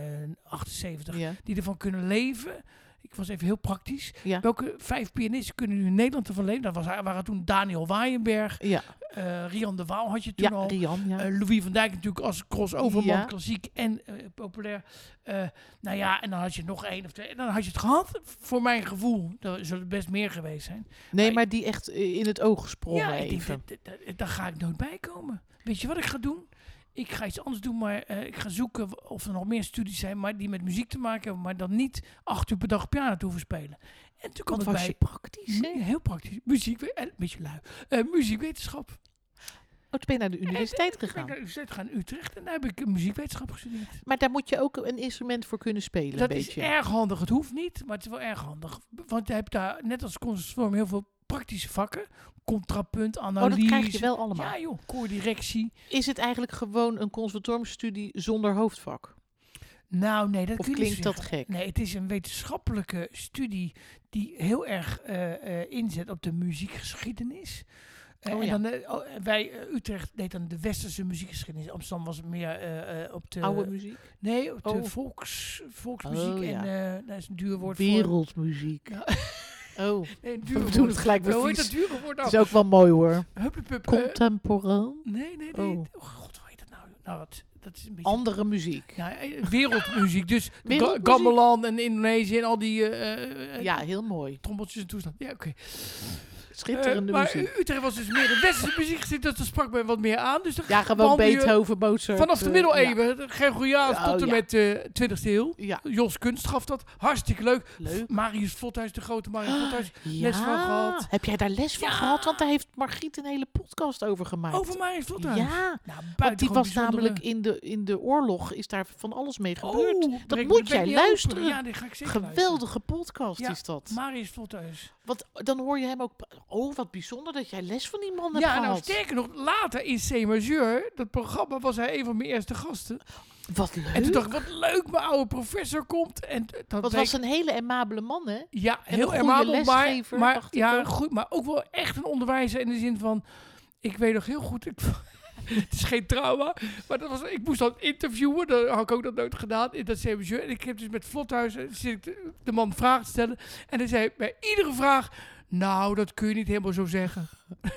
B: 1978,
A: ja.
B: die ervan kunnen leven. Ik was even heel praktisch.
A: Ja.
B: Welke vijf pianisten kunnen nu in Nederland ervan leven? Dat was, waren toen Daniel Waaienberg.
A: Ja,
B: eh, Rian de Waal had je toen
A: ja
B: al.
A: Rian, ja.
B: Eh, Louis van Dijk natuurlijk als crossoverman,
A: Ja.
B: klassiek en eh, populair. Eh, nou ja, en dan had je nog één of twee. En dan had je het gehad, voor mijn gevoel. Er zullen best meer geweest zijn.
A: nee,
B: maar-
A: maar die echt eh, in het oog sprongen
B: ja, ik
A: even.
B: denk, dat- dat- dat- daar ga ik nooit bij komen. Weet je wat ik ga doen? Ik ga iets anders doen, maar eh, ik ga zoeken of er nog meer studies zijn maar die met muziek te maken hebben. Maar dan niet acht uur per dag piano te hoeven spelen. En toen
A: Want
B: kwam het
A: was
B: bij...
A: je praktisch, hè?
B: Ja, heel praktisch. Muziek, en een beetje lui. Eh, muziekwetenschap.
A: Oh, toen ben je naar de universiteit
B: Ik ben naar
A: gegaan.
B: de universiteit gegaan in Utrecht en daar heb ik muziekwetenschap gestudeerd.
A: Maar daar moet je ook een instrument voor kunnen spelen,
B: Dat
A: een
B: is
A: beetje. Oh,
B: erg handig. Het hoeft niet, maar het is wel erg handig. Want je hebt daar, net als conservatorium, heel veel praktische vakken. Contrapunt,
A: oh,
B: analyse.
A: dat krijg je wel allemaal.
B: Nou, Ja joh, koordirectie.
A: Is het eigenlijk gewoon een conservatoriumstudie zonder hoofdvak?
B: Nou nee, dat
A: Of
B: kun je niet
A: klinkt dat
B: zeggen.
A: gek?
B: Nee, het is een wetenschappelijke studie die heel erg eh, eh, inzet op de muziekgeschiedenis. Eh, Eh,
A: Oh,
B: en
A: ja.
B: dan, eh, oh, wij, eh, Utrecht deed dan de westerse muziekgeschiedenis. Amsterdam was meer eh, eh, op de...
A: Oude muziek.
B: Nee, op de
A: Oh.
B: volks, volksmuziek.
A: Oh, ja.
B: En eh, dat is een duur woord voor...
A: Wereldmuziek.
B: Ja.
A: <laughs>
B: <laughs> Nou.
A: Oh,
B: Nee, een duur
A: we doen het
B: woord.
A: gelijk weer
B: Hoe heet dat
A: vies.
B: dure woord
A: Het
B: nou?
A: is ook wel mooi hoor.
B: Hupplepup. eh,
A: Contemporain.
B: nee, nee, nee.
A: Oh.
B: Oh. god, hoe heet dat nou? Nou, wat, dat is een beetje...
A: Andere muziek.
B: Ja, eh, wereldmuziek. Dus Ga-
A: Wereldmuziek.
B: Gamelan en Indonesië en al die eh, eh,
A: Ja, heel mooi.
B: trommeltjes en toestand. Ja, oké.
A: Schitterende
B: Eh, maar
A: muziek.
B: U- Utrecht was dus meer de westerse muziek gezien, dat dat sprak mij wat meer aan. Dus dan
A: Ja, gewoon
B: wandel je
A: Beethoven, Mozart.
B: Vanaf de
A: eh,
B: middeleeuwen, de Gregoriaans
A: Ja,
B: tot en
A: ja.
B: met de 20e eeuw.
A: Ja,
B: Jos Kunst gaf dat. Hartstikke leuk.
A: ja. leuk. Ah,
B: Marius Vothuis, de grote Marius Vothuis.
A: Ja.
B: van gehad.
A: Heb jij daar les van
B: Ja.
A: gehad? Want daar heeft Margriet een hele podcast over gemaakt.
B: Over Marius Vothuis.
A: Ja,
B: Nou,
A: want die
B: buitengewoon
A: was
B: bijzondere-
A: namelijk in de, in de oorlog, is daar van alles mee gebeurd.
B: Oh, ben ik-
A: moet
B: ben ik
A: jij
B: niet open.
A: luisteren.
B: Ja, die ga ik zeker luisteren.
A: Geweldige podcast
B: Ja,
A: is dat.
B: Marius Vothuis.
A: Want dan hoor je hem ook... pra- Oh, wat bijzonder dat jij les van die man hebt
B: Ja, nou
A: gehad.
B: sterker nog, later in C-majeur, dat programma, was hij een van mijn eerste gasten.
A: Wat leuk.
B: En toen dacht ik, wat leuk, mijn oude professor komt. En t- dat
A: Want het
B: bleek-
A: was een hele amabele man,
B: <laughs>
A: hè?
B: Ja,
A: een
B: heel
A: goede
B: ermabel, maar,
A: lesgever,
B: maar,
A: dacht ik
B: ja,
A: ook.
B: goed, maar ook wel echt een onderwijzer in de zin van, ik weet nog heel goed, ik, <laughs> het is geen trauma, maar dat was, ik moest dat interviewen, dat had ik ook nog nooit gedaan in dat CMJ. En ik heb dus met Vlothuis eh, zit ik de, de man vragen te stellen en hij zei bij iedere vraag, nou, dat kun je niet helemaal zo zeggen.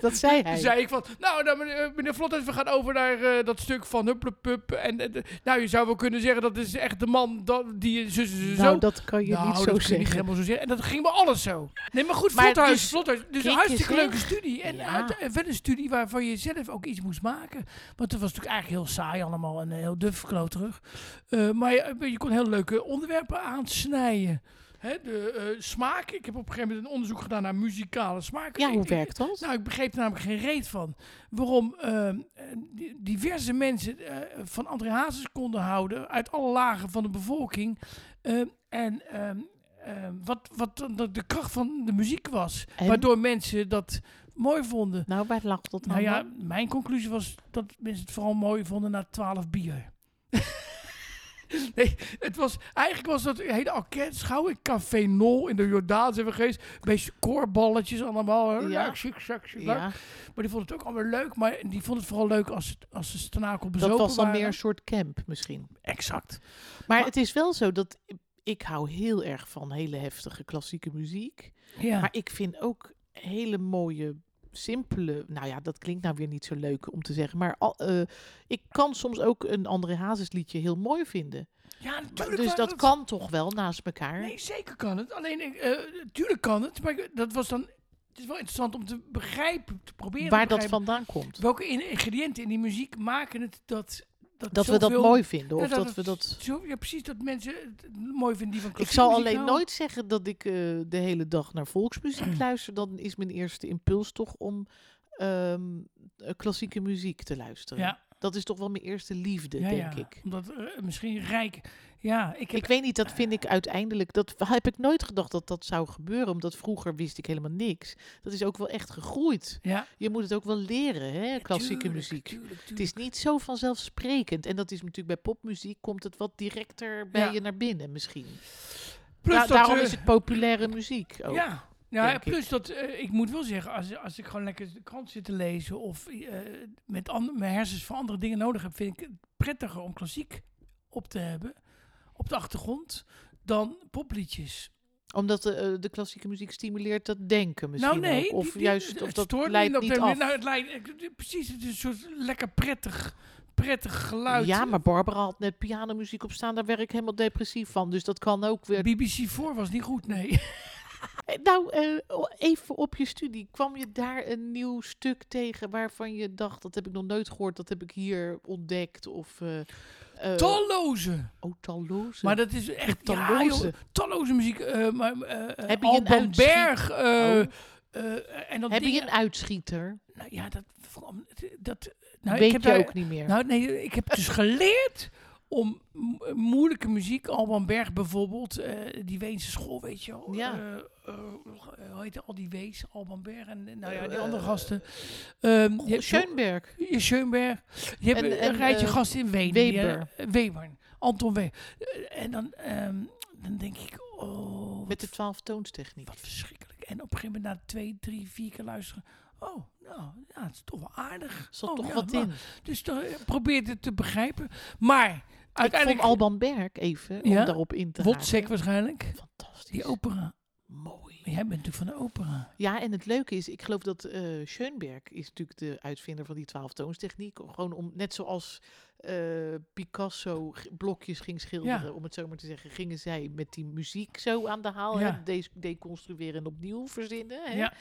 A: Dat zei hij.
B: Toen zei ik van, nou, nou meneer, meneer Vlothuis, we gaan over naar eh, dat stuk van Hupplepup. En, en, nou, je zou wel kunnen zeggen, dat is echt de man dat, die zus, zus, zo
A: nou, dat kan je niet
B: dat
A: zo
B: kun je niet
A: zeggen.
B: helemaal zo zeggen. En dat ging me alles zo. Nee, maar goed,
A: Maar
B: Vlothuis.
A: dus-
B: Vlothuis. Dus een
A: Kijk
B: hartstikke
A: eens, hè?
B: leuke studie. En
A: Ja.
B: uit- en wel een studie waarvan je zelf ook iets moest maken. Want het was natuurlijk eigenlijk heel saai allemaal en eh, heel duf terug. Eh, maar je, je kon heel leuke onderwerpen aansnijden. Hè, de eh, smaak. Ik heb op een gegeven moment een onderzoek gedaan naar muzikale smaak.
A: Ja, hoe
B: Ik- ik-
A: werkt dat?
B: nou, ik begreep er namelijk geen reet van. Waarom ehm, eh, di- diverse mensen eh, van André Hazes konden houden uit alle lagen van de bevolking. Ehm, en ehm, ehm, wat, wat dan de, de kracht van de muziek was.
A: En?
B: Waardoor mensen dat mooi vonden.
A: Nou, waar lag dat
B: Nou
A: aan
B: ja,
A: dan?
B: mijn conclusie was dat mensen het vooral mooi vonden na 12 bier. <laughs> Nee, het was, eigenlijk was dat een hele enquête. Schouw ik Café Nol in de Jordaan zijn we geweest. Een beetje koorballetjes allemaal. hè.
A: Ja.
B: Leuk, chic, chic, chic, leuk.
A: Ja,
B: Maar die vond het ook allemaal leuk. Maar die vond het vooral leuk als, het, als ze stenakel bezopen
A: dat was dan
B: waren.
A: meer een soort camp misschien.
B: Exact.
A: Maar,
B: Maar-
A: het is wel zo dat ik hou heel erg van hele heftige klassieke muziek.
B: Ja.
A: Maar ik vind ook hele mooie, simpele. Nou ja, dat klinkt nou weer niet zo leuk om te zeggen. Maar al- eh, ik kan soms ook een André Hazes liedje heel mooi vinden.
B: ja,
A: Maar,
B: natuurlijk
A: dus
B: waren
A: dat kan toch wel naast elkaar?
B: Nee, zeker kan het. Alleen, ik, eh, tuurlijk kan het. Maar ik- dat was dan... Het is wel interessant om te begrijpen, te proberen
A: waar
B: te
A: dat
B: begrijpen.
A: vandaan komt.
B: Welke in- ingrediënten in die muziek maken het dat... Dat,
A: Dat we dat
B: zoveel-
A: mooi vinden.
B: Ja,
A: Of dat
B: het
A: we dat.
B: Zo, ja, precies. Dat mensen het mooi vinden die van
A: Ik
B: klassieke
A: zal
B: muziek
A: alleen
B: houden.
A: nooit zeggen dat ik eh, de hele dag naar volksmuziek luister. Dan is mijn eerste impuls toch om ehm, eh, klassieke muziek te luisteren.
B: Ja,
A: Dat is toch wel mijn eerste liefde,
B: ja,
A: denk
B: ja.
A: ik.
B: Omdat eh, misschien rijk... Ja, ik heb... Ah.
A: Ik weet niet, dat vind ik uiteindelijk. Dat heb ik nooit gedacht dat dat zou gebeuren. Omdat vroeger wist ik helemaal niks. Dat is ook wel echt gegroeid.
B: ja,
A: Je moet het ook wel leren, hè? Klassieke
B: tuurlijk,
A: muziek.
B: tuurlijk,
A: Het
B: tuurlijk.
A: is niet zo vanzelfsprekend. En dat is natuurlijk bij popmuziek komt het wat directer bij
B: Ja.
A: je naar binnen misschien.
B: Plus
A: Da-
B: dat,
A: daarom
B: eh,
A: is het populaire muziek ook.
B: Ja. Ja,
A: denk
B: plus dat eh, ik moet wel zeggen, als, als ik gewoon lekker de krant zit te lezen of eh, met an- mijn hersens voor andere dingen nodig heb, vind ik het prettiger om klassiek op te hebben op de achtergrond dan popliedjes.
A: Omdat de, eh, de klassieke muziek stimuleert dat denken misschien
B: nou nee,
A: ook. Of
B: die- die-
A: juist of
B: het
A: dat
B: stoort me
A: leidt
B: op de
A: niet
B: manier.
A: af.
B: Nou, het leidt, ik- ik- precies, het is een soort lekker prettig, prettig geluid.
A: Ja, maar Barbara had net pianomuziek op staan. Daar werd ik helemaal depressief van. Dus dat kan ook weer
B: BBC4 was niet goed, nee.
A: Eh, Nou, eh, o- even op je studie. Kwam je daar een nieuw stuk tegen waarvan je dacht, dat heb ik nog nooit gehoord, dat heb ik hier ontdekt? Of, eh eh,
B: Talloze.
A: Oh, talloze.
B: Maar dat is echt
A: Ja,
B: talloze,
A: joh.
B: talloze muziek. eh maar, eh, eh,
A: Heb je een
B: Alban
A: uitschiet-
B: Berg. eh,
A: Oh.
B: eh, en dan
A: heb je
B: dingen-
A: een uitschieter?
B: Nou ja, dat... dat nou,
A: Weet
B: ik heb
A: je
B: daar-
A: ook niet meer.
B: Nou, nee, ik heb dus geleerd om mo- moeilijke muziek, Alban Berg bijvoorbeeld, eh, die Weense school, weet je wel.
A: Ja.
B: Eh, eh, hoe heet al die Wees, Alban Berg en eh, nou ja, die
A: Eh,
B: andere gasten. Ehm, je hebt-
A: Oh, Schoenberg.
B: je Schoenberg. Je hebt
A: En-
B: een
A: en,
B: rijtje
A: eh,
B: gasten in Wenen.
A: Weber.
B: die, eh, Weber. Anton Weber. Eh, En dan, ehm, dan denk ik, oh,
A: Met de
B: wat-
A: twaalftoonstechniek.
B: wat verschrikkelijk. En op een gegeven moment na twee, drie, vier keer luisteren. Oh, nou, ja, het is toch wel aardig.
A: Er zat
B: Oh,
A: toch
B: ja,
A: wat
B: nou,
A: in.
B: Dus dan, eh, probeer het te begrijpen. Maar
A: Uiteindelijk...
B: uiteindelijk...
A: Ik vond Alban Berg even, om
B: Ja?
A: daarop in te
B: Wozzeck
A: haken.
B: waarschijnlijk.
A: Fantastisch.
B: Die opera.
A: Mooi.
B: Jij bent natuurlijk van de opera.
A: Ja, en het leuke is, ik geloof dat eh Schoenberg is natuurlijk de uitvinder van die twaalftoonstechniek. Gewoon om, net zoals eh, Picasso g- blokjes ging schilderen, om het zo maar te zeggen, gingen zij met die muziek zo aan de haal.
B: Ja.
A: hè, des- deconstrueren en opnieuw verzinnen. Hè?
B: Ja.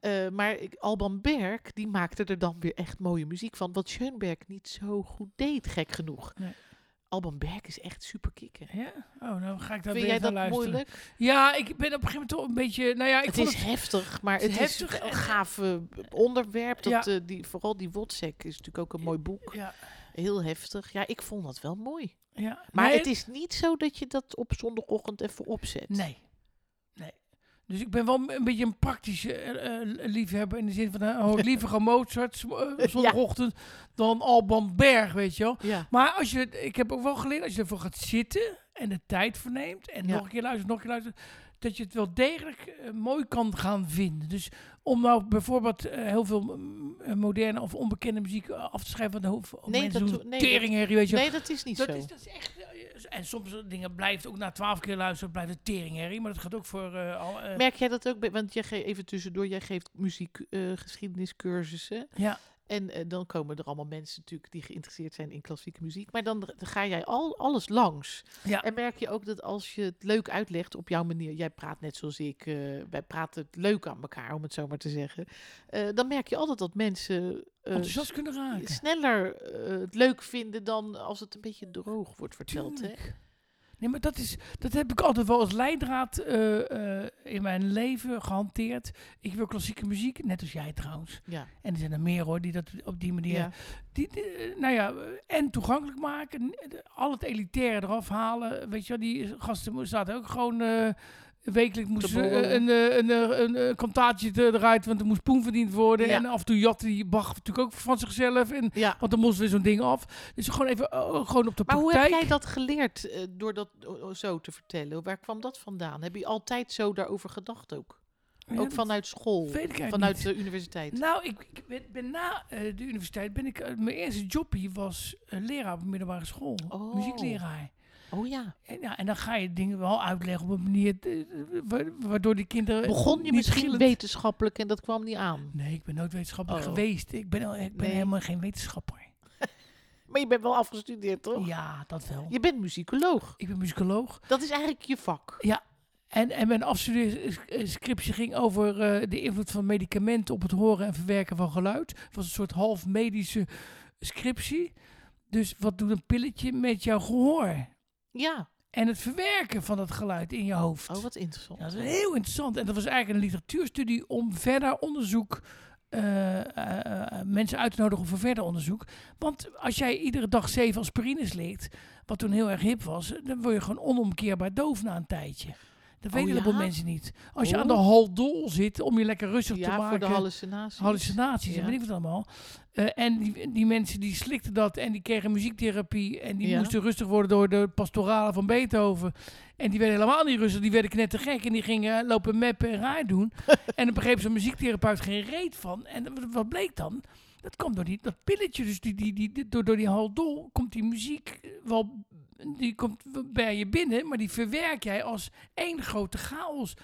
A: Eh, maar ik- Alban Berg, die maakte er dan weer echt mooie muziek van, wat Schoenberg niet zo goed deed, gek genoeg.
B: Nee.
A: Alban Berg is echt super kicken.
B: Ja? Oh, nou ga ik daar
A: Vind
B: weer
A: jij
B: gaan
A: dat
B: luisteren.
A: moeilijk?
B: Ja, ik ben op een gegeven moment toch een beetje... Nou ja, ik
A: het
B: vond
A: is heftig, maar
B: het
A: het
B: is
A: is,
B: heftig
A: een
B: en-
A: gaaf eh, onderwerp. Dat,
B: Ja.
A: eh, die, vooral die Wotsek is natuurlijk ook een mooi boek.
B: Ja,
A: Heel heftig. Ja, ik vond dat wel mooi.
B: ja.
A: Maar
B: Nee,
A: het is niet zo dat je dat op zondagochtend even opzet.
B: Nee. nee. Dus ik ben wel een beetje een praktische eh, eh, liefhebber. In de zin
A: <laughs>
B: van, nou, hoor ik liever gewoon Mozart s- eh, zondagochtend dan Alban Berg, weet je wel.
A: Ja.
B: Maar als je, ik heb ook wel geleerd, als je ervoor gaat zitten en de tijd verneemt en
A: Ja.
B: nog een keer luistert, nog een keer luistert, dat je het wel degelijk eh, mooi kan gaan vinden. Dus om nou bijvoorbeeld eh, heel veel mm, eh, moderne of onbekende muziek eh, af te schrijven, want dan hoeven
A: Nee,
B: mensen
A: dat
B: doen
A: doe- nee,
B: teringherrie, weet je wel.
A: Nee, dat is niet
B: Dat
A: zo.
B: is, dat is echt. eh, En soms dingen blijft ook na twaalf keer luisteren, blijft het teringherrie. Maar dat gaat ook voor. eh, al, eh,
A: Merk jij dat ook? bij- Want jij geeft even tussendoor, jij geeft muziekgeschiedeniscursussen.
B: ja,
A: en eh, dan komen er allemaal mensen natuurlijk die geïnteresseerd zijn in klassieke muziek. Maar dan, dan ga jij al, alles langs.
B: ja.
A: En merk je ook dat als je het leuk uitlegt op jouw manier, jij praat net zoals ik, eh, wij praten het leuk aan elkaar, om het zo maar te zeggen, eh, dan merk je altijd dat mensen eh,
B: enthousiast kunnen raken.
A: s- sneller eh, het leuk vinden dan als het een beetje droog wordt verteld. Hè?
B: Tuurlijk. Nee, maar dat, is, dat heb ik altijd wel als leidraad eh, eh, in mijn leven gehanteerd. Ik wil klassieke muziek, net als jij trouwens.
A: Ja,
B: En er zijn er meer hoor, die dat op die manier...
A: ja.
B: Die, die, eh, nou ja, eh, en toegankelijk maken. n- de- Al het elitaire eraf halen. Weet je wel, die gasten mo- zaten ook gewoon... eh wekelijks moest
A: borrelen.
B: een, eh, een, eh, een, eh, kantaatje te- eruit, want er moest poen verdiend worden.
A: Ja.
B: En af en toe jatte die Bach natuurlijk ook van zichzelf. En,
A: ja.
B: want dan moest weer zo'n ding af. Dus gewoon even oh, gewoon op de
A: Maar hoe
B: praktijk.
A: heb jij dat geleerd eh, door dat eh, zo te vertellen? Waar kwam dat vandaan? Heb je altijd zo daarover gedacht ook?
B: Ja,
A: ook
B: dat-
A: vanuit school,
B: weet ik eigenlijk
A: vanuit eh,
B: niet.
A: de universiteit?
B: Nou, ik, ik ben, ben na eh, de universiteit ben ik eh, mijn eerste job hier was eh, leraar op een middelbare school,
A: Oh.
B: muziekleraar.
A: Oh ja.
B: En, ja, en dan ga je dingen wel uitleggen op een manier eh, wa- waardoor die kinderen
A: Begon je
B: eh, niet
A: misschien
B: gillend-
A: wetenschappelijk en dat kwam niet aan?
B: Nee, ik ben nooit wetenschapper
A: Oh.
B: geweest. Ik ben, al- ik ben
A: Nee.
B: helemaal geen wetenschapper.
A: Maar je bent wel afgestudeerd, toch?
B: Ja, dat wel.
A: Je bent muzikoloog.
B: Ik ben muzikoloog.
A: Dat is eigenlijk je vak.
B: Ja. En, en mijn afstudeerscriptie eh, ging over eh, de invloed van medicamenten op het horen en verwerken van geluid. Het was een soort half medische scriptie. Dus wat doet een pilletje met jouw gehoor?
A: Ja.
B: En het verwerken van dat geluid in je hoofd.
A: Oh, wat interessant.
B: Ja, dat is heel interessant. En dat was eigenlijk een literatuurstudie om verder onderzoek. eh, eh, eh, mensen uit te nodigen voor verder onderzoek. Want als jij iedere dag zeven aspirines slikt, wat toen heel erg hip was, dan word je gewoon onomkeerbaar doof na een tijdje. Dat
A: Oh,
B: weten heel veel
A: ja?
B: mensen niet. Als je
A: Oh.
B: aan de haldol zit om je lekker rustig te
A: Ja,
B: maken
A: voor de hallucinaties.
B: hallucinaties en
A: Ja.
B: weet ik wat allemaal. Eh, en die, die mensen die slikten dat en die kregen muziektherapie en die
A: Ja.
B: moesten rustig worden door de pastoralen van Beethoven. En die werden helemaal niet rustig, die werden knettergek en die gingen lopen meppen en raar
A: <laughs>
B: doen. en dan begreep zo'n muziektherapeut geen reet van. En wat- wat bleek dan? Dat kwam door die, dat pilletje, dus die, die, die, die- door, door die haldol komt die muziek eh, wel, die komt w- bij je binnen, maar die verwerk jij als één grote chaos.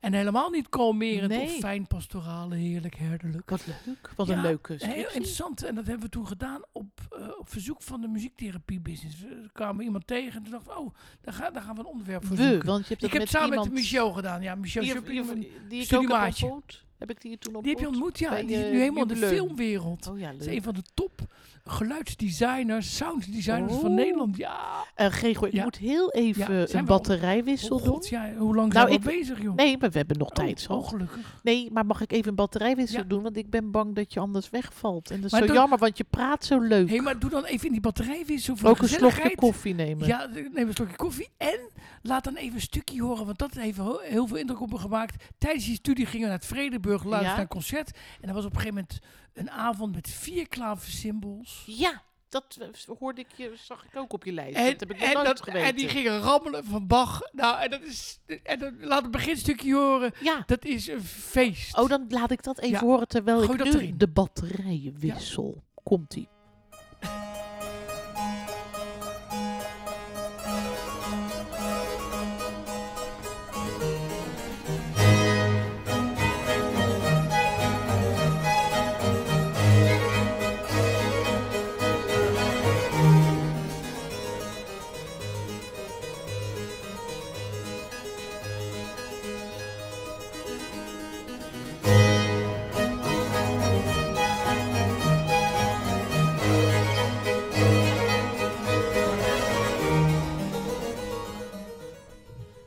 B: En helemaal niet kalmerend of
A: Nee.
B: fijn pastorale, heerlijk herderlijk.
A: Wat leuk. Wat
B: Ja,
A: een leuke
B: Heel
A: scriptie.
B: interessant. En dat hebben we toen gedaan op, eh, op verzoek van de muziektherapie-business. We kwamen iemand tegen en toen dachten we, oh, daar, ga, daar gaan we een onderwerp voor
A: We,
B: zoeken.
A: want je hebt dat
B: Ik heb
A: met
B: het samen
A: iemand...
B: met Michel gedaan. Ja, Michel
A: die,
B: Chopin. Die,
A: die, die ik ook heb
B: studiemaatje.
A: ontmoet. Heb ik die toen ontmoet?
B: heb je ontmoet, ja.
A: bij,
B: Die zit
A: eh,
B: nu helemaal in de
A: Jubileum.
B: filmwereld.
A: Oh ja,
B: Dat is een
A: leuk.
B: van de top geluidsdesigners, sounddesigners van
A: Oh.
B: Nederland. Ja,
A: Eh Gregor, ik
B: Ja.
A: moet heel even
B: Ja, zijn
A: een
B: we al-
A: batterijwissel
B: oh,
A: doen.
B: god, ja, hoe lang
A: Nou,
B: zijn
A: ik-
B: we al bezig, joh?
A: Nee, maar we hebben nog tijd,
B: oh,
A: zo.
B: ongelukkig.
A: Nee, maar mag ik even een batterijwissel
B: Ja.
A: doen? Want ik ben bang dat je anders wegvalt. En dat is
B: Maar
A: zo
B: dan-
A: jammer, want je praat zo leuk.
B: Hé, hey, maar doe dan even in die batterijwissel voor
A: Ook
B: de
A: een slokje
B: gezelligheid.
A: koffie nemen.
B: Ja, neem een slokje koffie. En laat dan even een stukje horen, want dat heeft ho- heel veel indruk op me gemaakt. Tijdens die studie gingen we naar het Vredeburg luisteren
A: Ja.
B: naar een concert. En dat was op een gegeven moment een avond met vier klaversymbols.
A: ja. Dat eh, hoorde ik je, zag ik ook op je lijst.
B: En,
A: dat heb ik nog
B: en,
A: nooit
B: dat,
A: geweten.
B: en die gingen rammelen van Bach. Nou, en dat is. En dat, laat het beginstukje horen.
A: Ja,
B: Dat is een feest.
A: oh, dan laat ik dat even
B: Ja.
A: horen terwijl
B: Gooi
A: ik
B: dat
A: nu
B: erin.
A: de batterijen wissel. Komt-ie.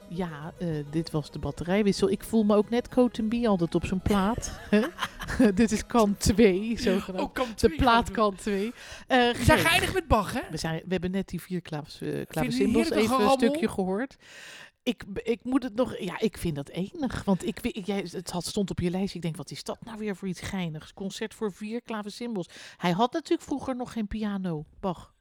A: Ja, eh, dit was de batterijwissel. Ik voel me ook net Cotenby altijd op zo'n plaat. hè? <laughs> dit is kant 2, zogenaamd.
B: Ook kan
A: de plaatkant 2. Eh
B: We zijn
A: Greet.
B: geëindigd met Bach, hè?
A: We, zijn, we hebben net die vier klaves, eh
B: heerlijk
A: klavecimbals
B: een
A: even een
B: gerammel?
A: stukje gehoord. Ik, ik moet het nog... Ja, ik vind dat enig. Want ik, weet- jij, het had, stond op je lijst. Ik denk, wat is dat nou weer voor iets geinigs? Concert voor vier klavecimbals. Hij had natuurlijk vroeger nog geen piano. Bach,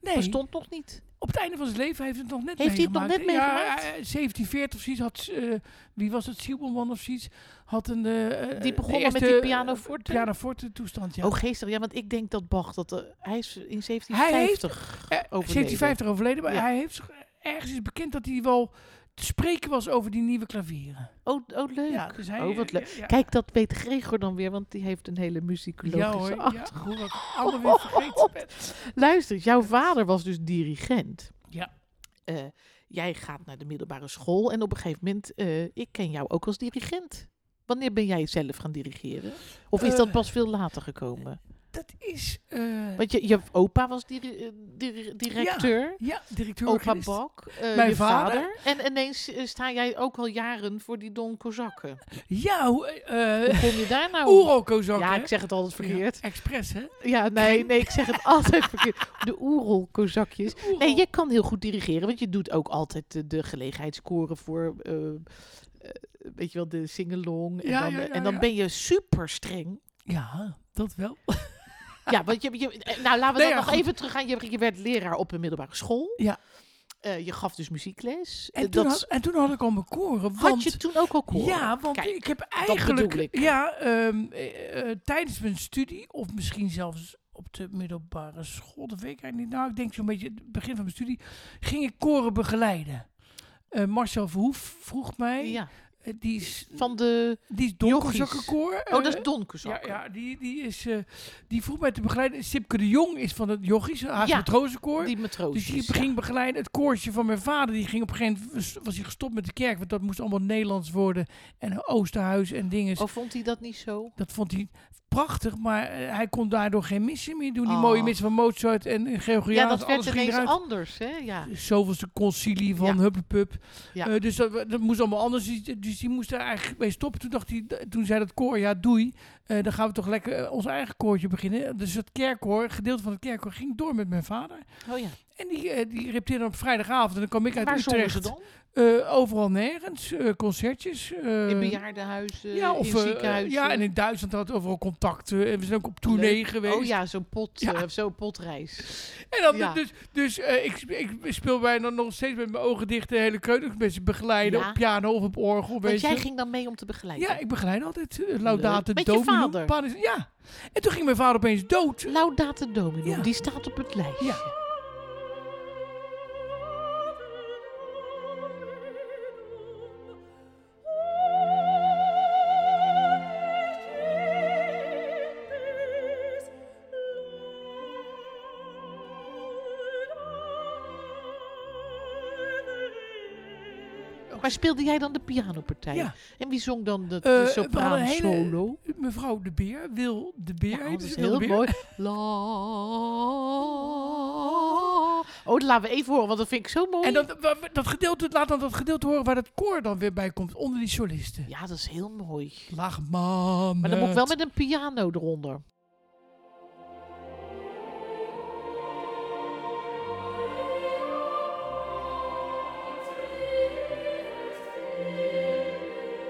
B: Nee.
A: bestond nog niet.
B: Op het einde van zijn leven heeft hij het nog net
A: Heeft hij het nog
B: meegemaakt.
A: net
B: Ja,
A: meegemaakt?
B: eh, 1740 of zoiets had, eh, wie was het, Siebelman of zoiets, had een... eh,
A: Die
B: eh,
A: begonnen
B: de
A: met die
B: eerste,
A: pianoforte?
B: eh, pianoforte toestand, ja.
A: Oh, geestig. Ja, want ik denk dat Bach... Dat, eh, hij is in
B: Hij heeft
A: 1750
B: Eh,
A: overleden.
B: 1750 overleden, maar
A: Ja.
B: hij heeft zich- ergens is bekend dat hij wel te spreken was over die nieuwe klavieren.
A: Oh, oh, leuk.
B: Ja, dus hij,
A: Oh, wat
B: eh,
A: leuk.
B: ja, ja.
A: Kijk, dat weet Gregor dan weer. Want die heeft een hele
B: Ja
A: muzikologische
B: hoor, ja,
A: achtergrond.
B: hoe ik allemaal weer
A: <laughs>
B: vergeten ben.
A: Luister, jouw vader was dus dirigent.
B: Ja.
A: Eh, jij gaat naar de middelbare school en op een gegeven moment, eh, ik ken jou ook als dirigent. Wanneer ben jij zelf gaan dirigeren? Of is dat
B: Eh.
A: pas veel later gekomen?
B: Dat is... eh,
A: Want je, je opa was diri- eh, diri- directeur,
B: ja, directeur
A: opa
B: organist.
A: Bak, eh,
B: Mijn
A: je vader.
B: vader.
A: En ineens eh, sta jij ook al jaren voor die Don Kozakken.
B: Ja, hoe...
A: Hoe
B: eh
A: kom je daar nou?
B: Oerokozak,
A: ja, ik zeg het altijd verkeerd.
B: Express, hè?
A: Ja, nee, nee, ik zeg het altijd verkeerd. De Oerol-Kozakjes. Nee,
B: Oerol.
A: je kan heel goed dirigeren, want je doet ook altijd de, de gelegenheidskoren voor, eh, eh, weet je wel, de singalong. En
B: Ja,
A: dan, eh,
B: ja, ja,
A: en dan
B: ja.
A: ben je super
B: <laughs>
A: streng.
B: Ja, dat wel.
A: Ja, want je, je, eh, nou laten we dan
B: Nee, ja,
A: nog
B: goed.
A: even teruggaan. Je, je werd leraar op een middelbare school.
B: Ja.
A: Eh, je gaf dus muziekles.
B: En
A: Eh,
B: toen,
A: dat
B: had, en toen had ik al mijn koren.
A: had
B: Want,
A: je toen ook al koren?
B: Ja, want
A: Kijk,
B: ik heb eigenlijk...
A: bedoel ik.
B: Ja, ehm, eh, eh, tijdens mijn studie, of misschien zelfs op de middelbare school, dat weet ik eigenlijk niet. Nou, ik denk zo'n beetje het begin van mijn studie, ging ik koren begeleiden. Eh, Marcel Verhoef vroeg mij,
A: Ja,
B: eh, die is,
A: van de...
B: die is
A: Jochies.
B: donkerzakkenkoor.
A: Oh, dat
B: eh,
A: is donkerzakken.
B: Ja, ja die, die, is, eh, die vroeg mij te begeleiden. Sipke de Jong is van het Jochies, haar
A: Ja,
B: matrozenkoor.
A: Die
B: Dus
A: matroosjes.
B: die
A: ja.
B: ging begeleiden. Het koortje van mijn vader, die ging op een gegeven moment, was hij gestopt met de kerk, want dat moest allemaal Nederlands worden. En Oosterhuis en dingen.
A: Oh, vond hij dat niet zo?
B: Dat vond hij prachtig, maar eh, hij kon daardoor geen missen meer doen. Die
A: Oh.
B: mooie missen van Mozart en Gregoriaans,
A: Ja, dat werd
B: alles ging
A: ineens
B: eruit.
A: anders, hè? Ja.
B: Zoveelste concilie van
A: Ja.
B: Hupplepup.
A: Ja.
B: Eh, dus dat, dat moest allemaal anders. Dus die- Dus die moest daar eigenlijk mee stoppen. Toen, dacht hij, toen zei dat koor, ja doei, eh, dan gaan we toch lekker eh, ons eigen koortje beginnen. Dus het kerkkoor, een gedeelte van het kerkkoor, ging door met mijn vader.
A: Oh ja.
B: En die, eh, die repeteerde op vrijdagavond. En dan kwam ik uit
A: Waar zongen
B: Utrecht.
A: ze dan?
B: Eh, overal nergens. eh, concertjes. eh,
A: In bejaardenhuizen,
B: ja, of,
A: in
B: eh,
A: ziekenhuizen.
B: ja, en in Duitsland hadden we overal contacten. En we zijn ook op tournee
A: Leuk.
B: geweest.
A: Oh ja, zo'n pot,
B: Ja.
A: eh, zo'n potreis.
B: En dan,
A: ja.
B: dus, dus eh, ik, ik speel bijna nog steeds met mijn ogen dicht de hele keuken. Mensen begeleiden
A: Ja.
B: op piano of op orgel.
A: Want
B: Weet
A: jij
B: je.
A: ging dan mee om te begeleiden.
B: Ja, ik begeleid altijd. eh, Laudate
A: Leuk. Met je
B: Domino,
A: vader?
B: Paris- ja. En toen ging mijn vader opeens dood.
A: Laudate Domino,
B: Ja.
A: die staat op het lijstje.
B: Ja.
A: Maar speelde jij dan de pianopartij?
B: Ja.
A: En wie zong dan de,
B: Eh,
A: de
B: we
A: sopraan
B: hadden een hele-
A: solo?
B: Mevrouw De Beer, Wil De Beer.
A: Ja, oh,
B: heette
A: dat
B: ze,
A: is
B: Wil de
A: heel
B: Beer.
A: mooi. La... Oh, dat laten we even horen, want dat vind ik zo mooi.
B: En dat, wa- wa- dat gedeelte, laat dan dat gedeelte horen waar dat koor dan weer bij komt, onder die solisten.
A: Ja, dat is heel mooi.
B: Lach man.
A: Maar dan moet ik wel met een piano eronder.
C: Thank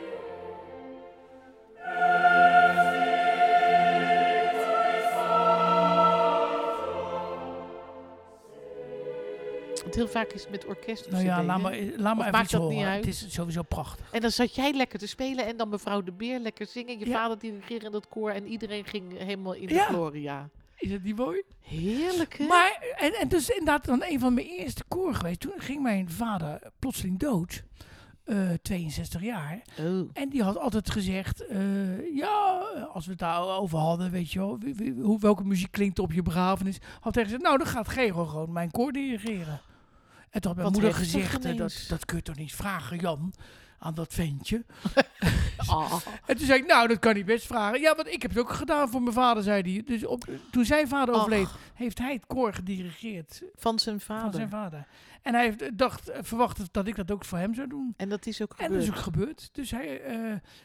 A: Want heel vaak is het met orkest of
B: Nou ja,
A: cd,
B: laat
A: hè?
B: maar, laat maar
A: Of
B: even
A: maakt
B: iets
A: dat niet
B: horen.
A: uit?
B: Het is sowieso prachtig.
A: En dan zat jij lekker te spelen en dan mevrouw de Beer lekker zingen. Je
B: Ja.
A: vader dirigeerde in dat koor en iedereen ging helemaal in de
B: Ja.
A: gloria.
B: Is het niet mooi?
A: Heerlijk, hè?
B: Maar, en, en dus inderdaad dan een van mijn eerste koor geweest. Toen ging mijn vader plotseling dood. eh, 62 jaar.
A: Oh.
B: En die had altijd gezegd, eh, ja, als we het daarover hadden, weet je wel, wie- wie- hoe, welke muziek klinkt op je begrafenis. Had hij gezegd, nou, dan gaat Gero gewoon mijn koor dirigeren. En toen had
A: Wat
B: mijn moeder
A: heftig
B: gezegd, eh, dat,
A: ineens.
B: dat kun je toch niet vragen, Jan, aan dat ventje.
A: Ah.
B: En toen zei ik, nou, dat kan hij best vragen. Ja, want ik heb het ook gedaan voor mijn vader, zei hij. Dus op, toen zijn vader
A: Ach.
B: overleed, heeft hij het koor gedirigeerd
A: Van zijn vader.
B: van zijn vader. En hij heeft, eh, dacht, eh, verwacht dat ik dat ook voor hem zou doen.
A: En dat is ook
B: En
A: gebeurd.
B: dat is ook gebeurd. Dus hij, eh,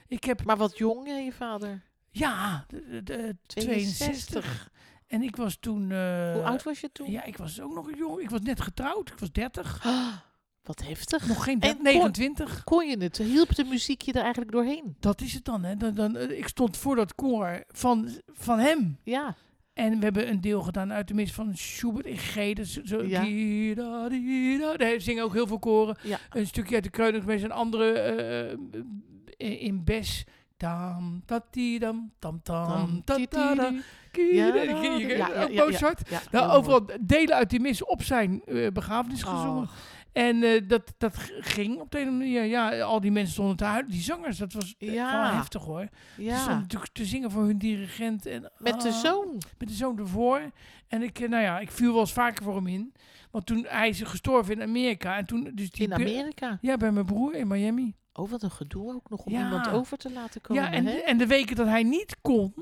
B: ik heb
A: Maar wat jong, hè, je vader?
B: Ja, de, de- de 62. En ik was toen... eh,
A: Hoe oud was je toen?
B: Ja, ik was ook nog jong. Ik was net getrouwd. Ik was 30.
A: Ah, <gasps> wat heftig.
B: Nog geen
A: En
B: 30,
A: kon-
B: 29.
A: Kon je het? Hielp de muziek je er eigenlijk doorheen?
B: Dat is het dan, hè. Dan, dan, eh, ik stond voor dat koor van, van hem.
A: Ja.
B: En we hebben een deel gedaan uit de mis van Schubert in G. Dus zo,
A: Ja.
B: di, da, di, da. Daar zingen ook heel veel koren.
A: Ja.
B: Een stukje uit de Kreunigmees. Een andere eh, in Bes. Tam, tatidam, tam, tam, tatada.
A: Ja,
B: Ja,
A: ja, ja,
B: ja,
A: ja,
B: Mozart.
A: Ja, heel mooi.
B: Nou,
A: Oh.
B: overal delen uit die mis op zijn eh, begrafenis gezongen.
A: Och,
B: En eh, dat, dat g- ging op de een of andere manier. Ja, al die mensen stonden te huilen. Die zangers, dat was eh,
A: Ja.
B: gewoon heftig hoor. Ze stonden
A: ja.
B: natuurlijk te zingen voor hun dirigent. En,
A: Met de
B: ah,
A: zoon.
B: Met de zoon ervoor. En ik, eh, nou ja, ik viel wel eens vaker voor hem in. Want toen hij is gestorven in Amerika. En toen, dus die
A: In Amerika.
B: Ja, bij mijn broer in Miami.
A: Oh, wat een gedoe ook nog om
B: Ja.
A: iemand over te laten komen.
B: ja, en,
A: hè?
B: en de weken dat hij niet kon,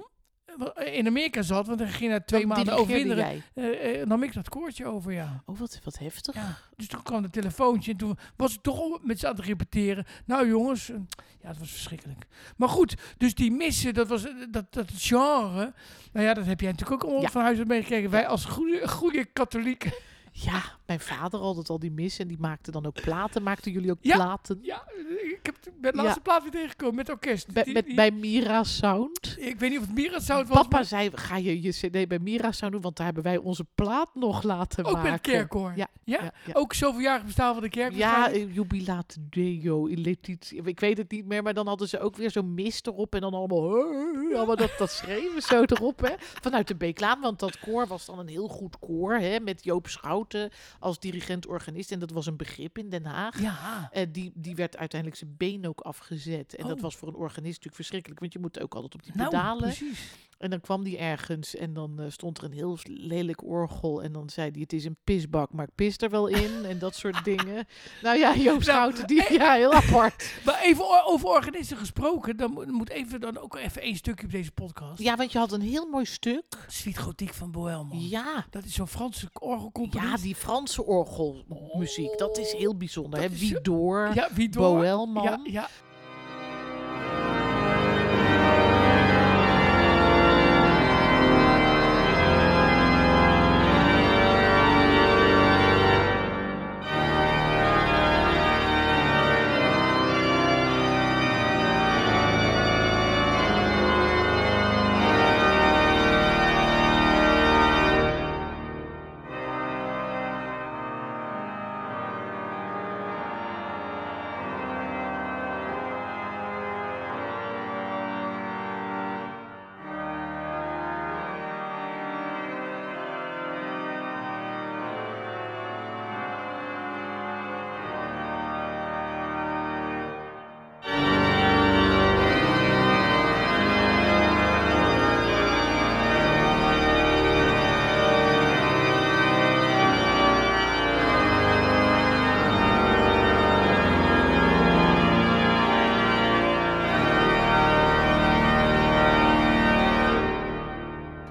B: eh, wa- in Amerika zat, want hij ging na twee
A: Dan
B: maanden
A: dirigeerde
B: overwinteren.
A: jij.
B: eh, eh, nam ik dat koortje over, ja.
A: Oh, wat, wat heftig.
B: ja. Dus toen kwam het telefoontje en toen was ik toch al met ze aan het repeteren. Nou jongens, eh, ja, het was verschrikkelijk. Maar goed, dus die missen, dat was eh, dat, dat genre. Nou ja, dat heb jij natuurlijk ook allemaal
A: Ja.
B: van huis uit meegekregen. Wij als goede, goede katholieken. <laughs>
A: Ja, mijn vader had het al die mis en die maakte dan ook platen. Maakten jullie ook
B: Ja.
A: platen?
B: Ja, ik heb t- bij de laatste plaat weer tegengekomen met orkest.
A: Bij,
B: Die-
A: met,
B: die-
A: bij Mira Sound.
B: ik weet niet of het Mira Sound was,
A: Papa
B: maar
A: zei, ga je je cd bij Mira Sound doen? Want daar hebben wij onze plaat nog laten
B: ook
A: maken.
B: met het kerkkoor.
A: Ja,
B: ja?
A: Ja, ja.
B: Ook zoveeljarig bestaan van de kerk.
A: Ja,
B: waarschijnlijk.
A: eh, jubilaat deo, letitie. Ik weet het niet meer, maar dan hadden ze ook weer zo'n mist erop. En dan allemaal, allemaal dat, dat schreven zo erop. Hè. Vanuit de Beeklaan, want dat koor was dan een heel goed koor. Hè, met Joop Schouten als dirigent-organist. En dat was een begrip in Den Haag.
B: ja.
A: Eh, die, die werd uiteindelijk zijn been ook afgezet. En dat
B: Oh.
A: was voor een organist natuurlijk verschrikkelijk. Want je moet ook altijd op die
B: Nou,
A: pedalen.
B: precies.
A: En dan kwam die ergens en dan eh, stond er een heel s- lelijk orgel. En dan zei hij, het is een pisbak, maar ik pis er wel
B: <laughs>
A: in. en dat soort dingen. Nou ja, Joop Schouten, die, ja, heel apart.
B: Maar even o- over organisten gesproken, dan mo- moet even dan ook even één stukje op deze podcast.
A: Ja, want je had een heel mooi stuk.
B: Suite Gothique van Boel, man.
A: Ja,
B: Dat is zo'n Franse
A: ja
B: orgelcomponist.
A: die Franse orgelmuziek, dat is heel bijzonder.
B: Dat
A: Hè?
B: is
A: Wie
B: zo-
A: door,
B: Ja, wie door?
A: Boelman.
B: Ja, ja.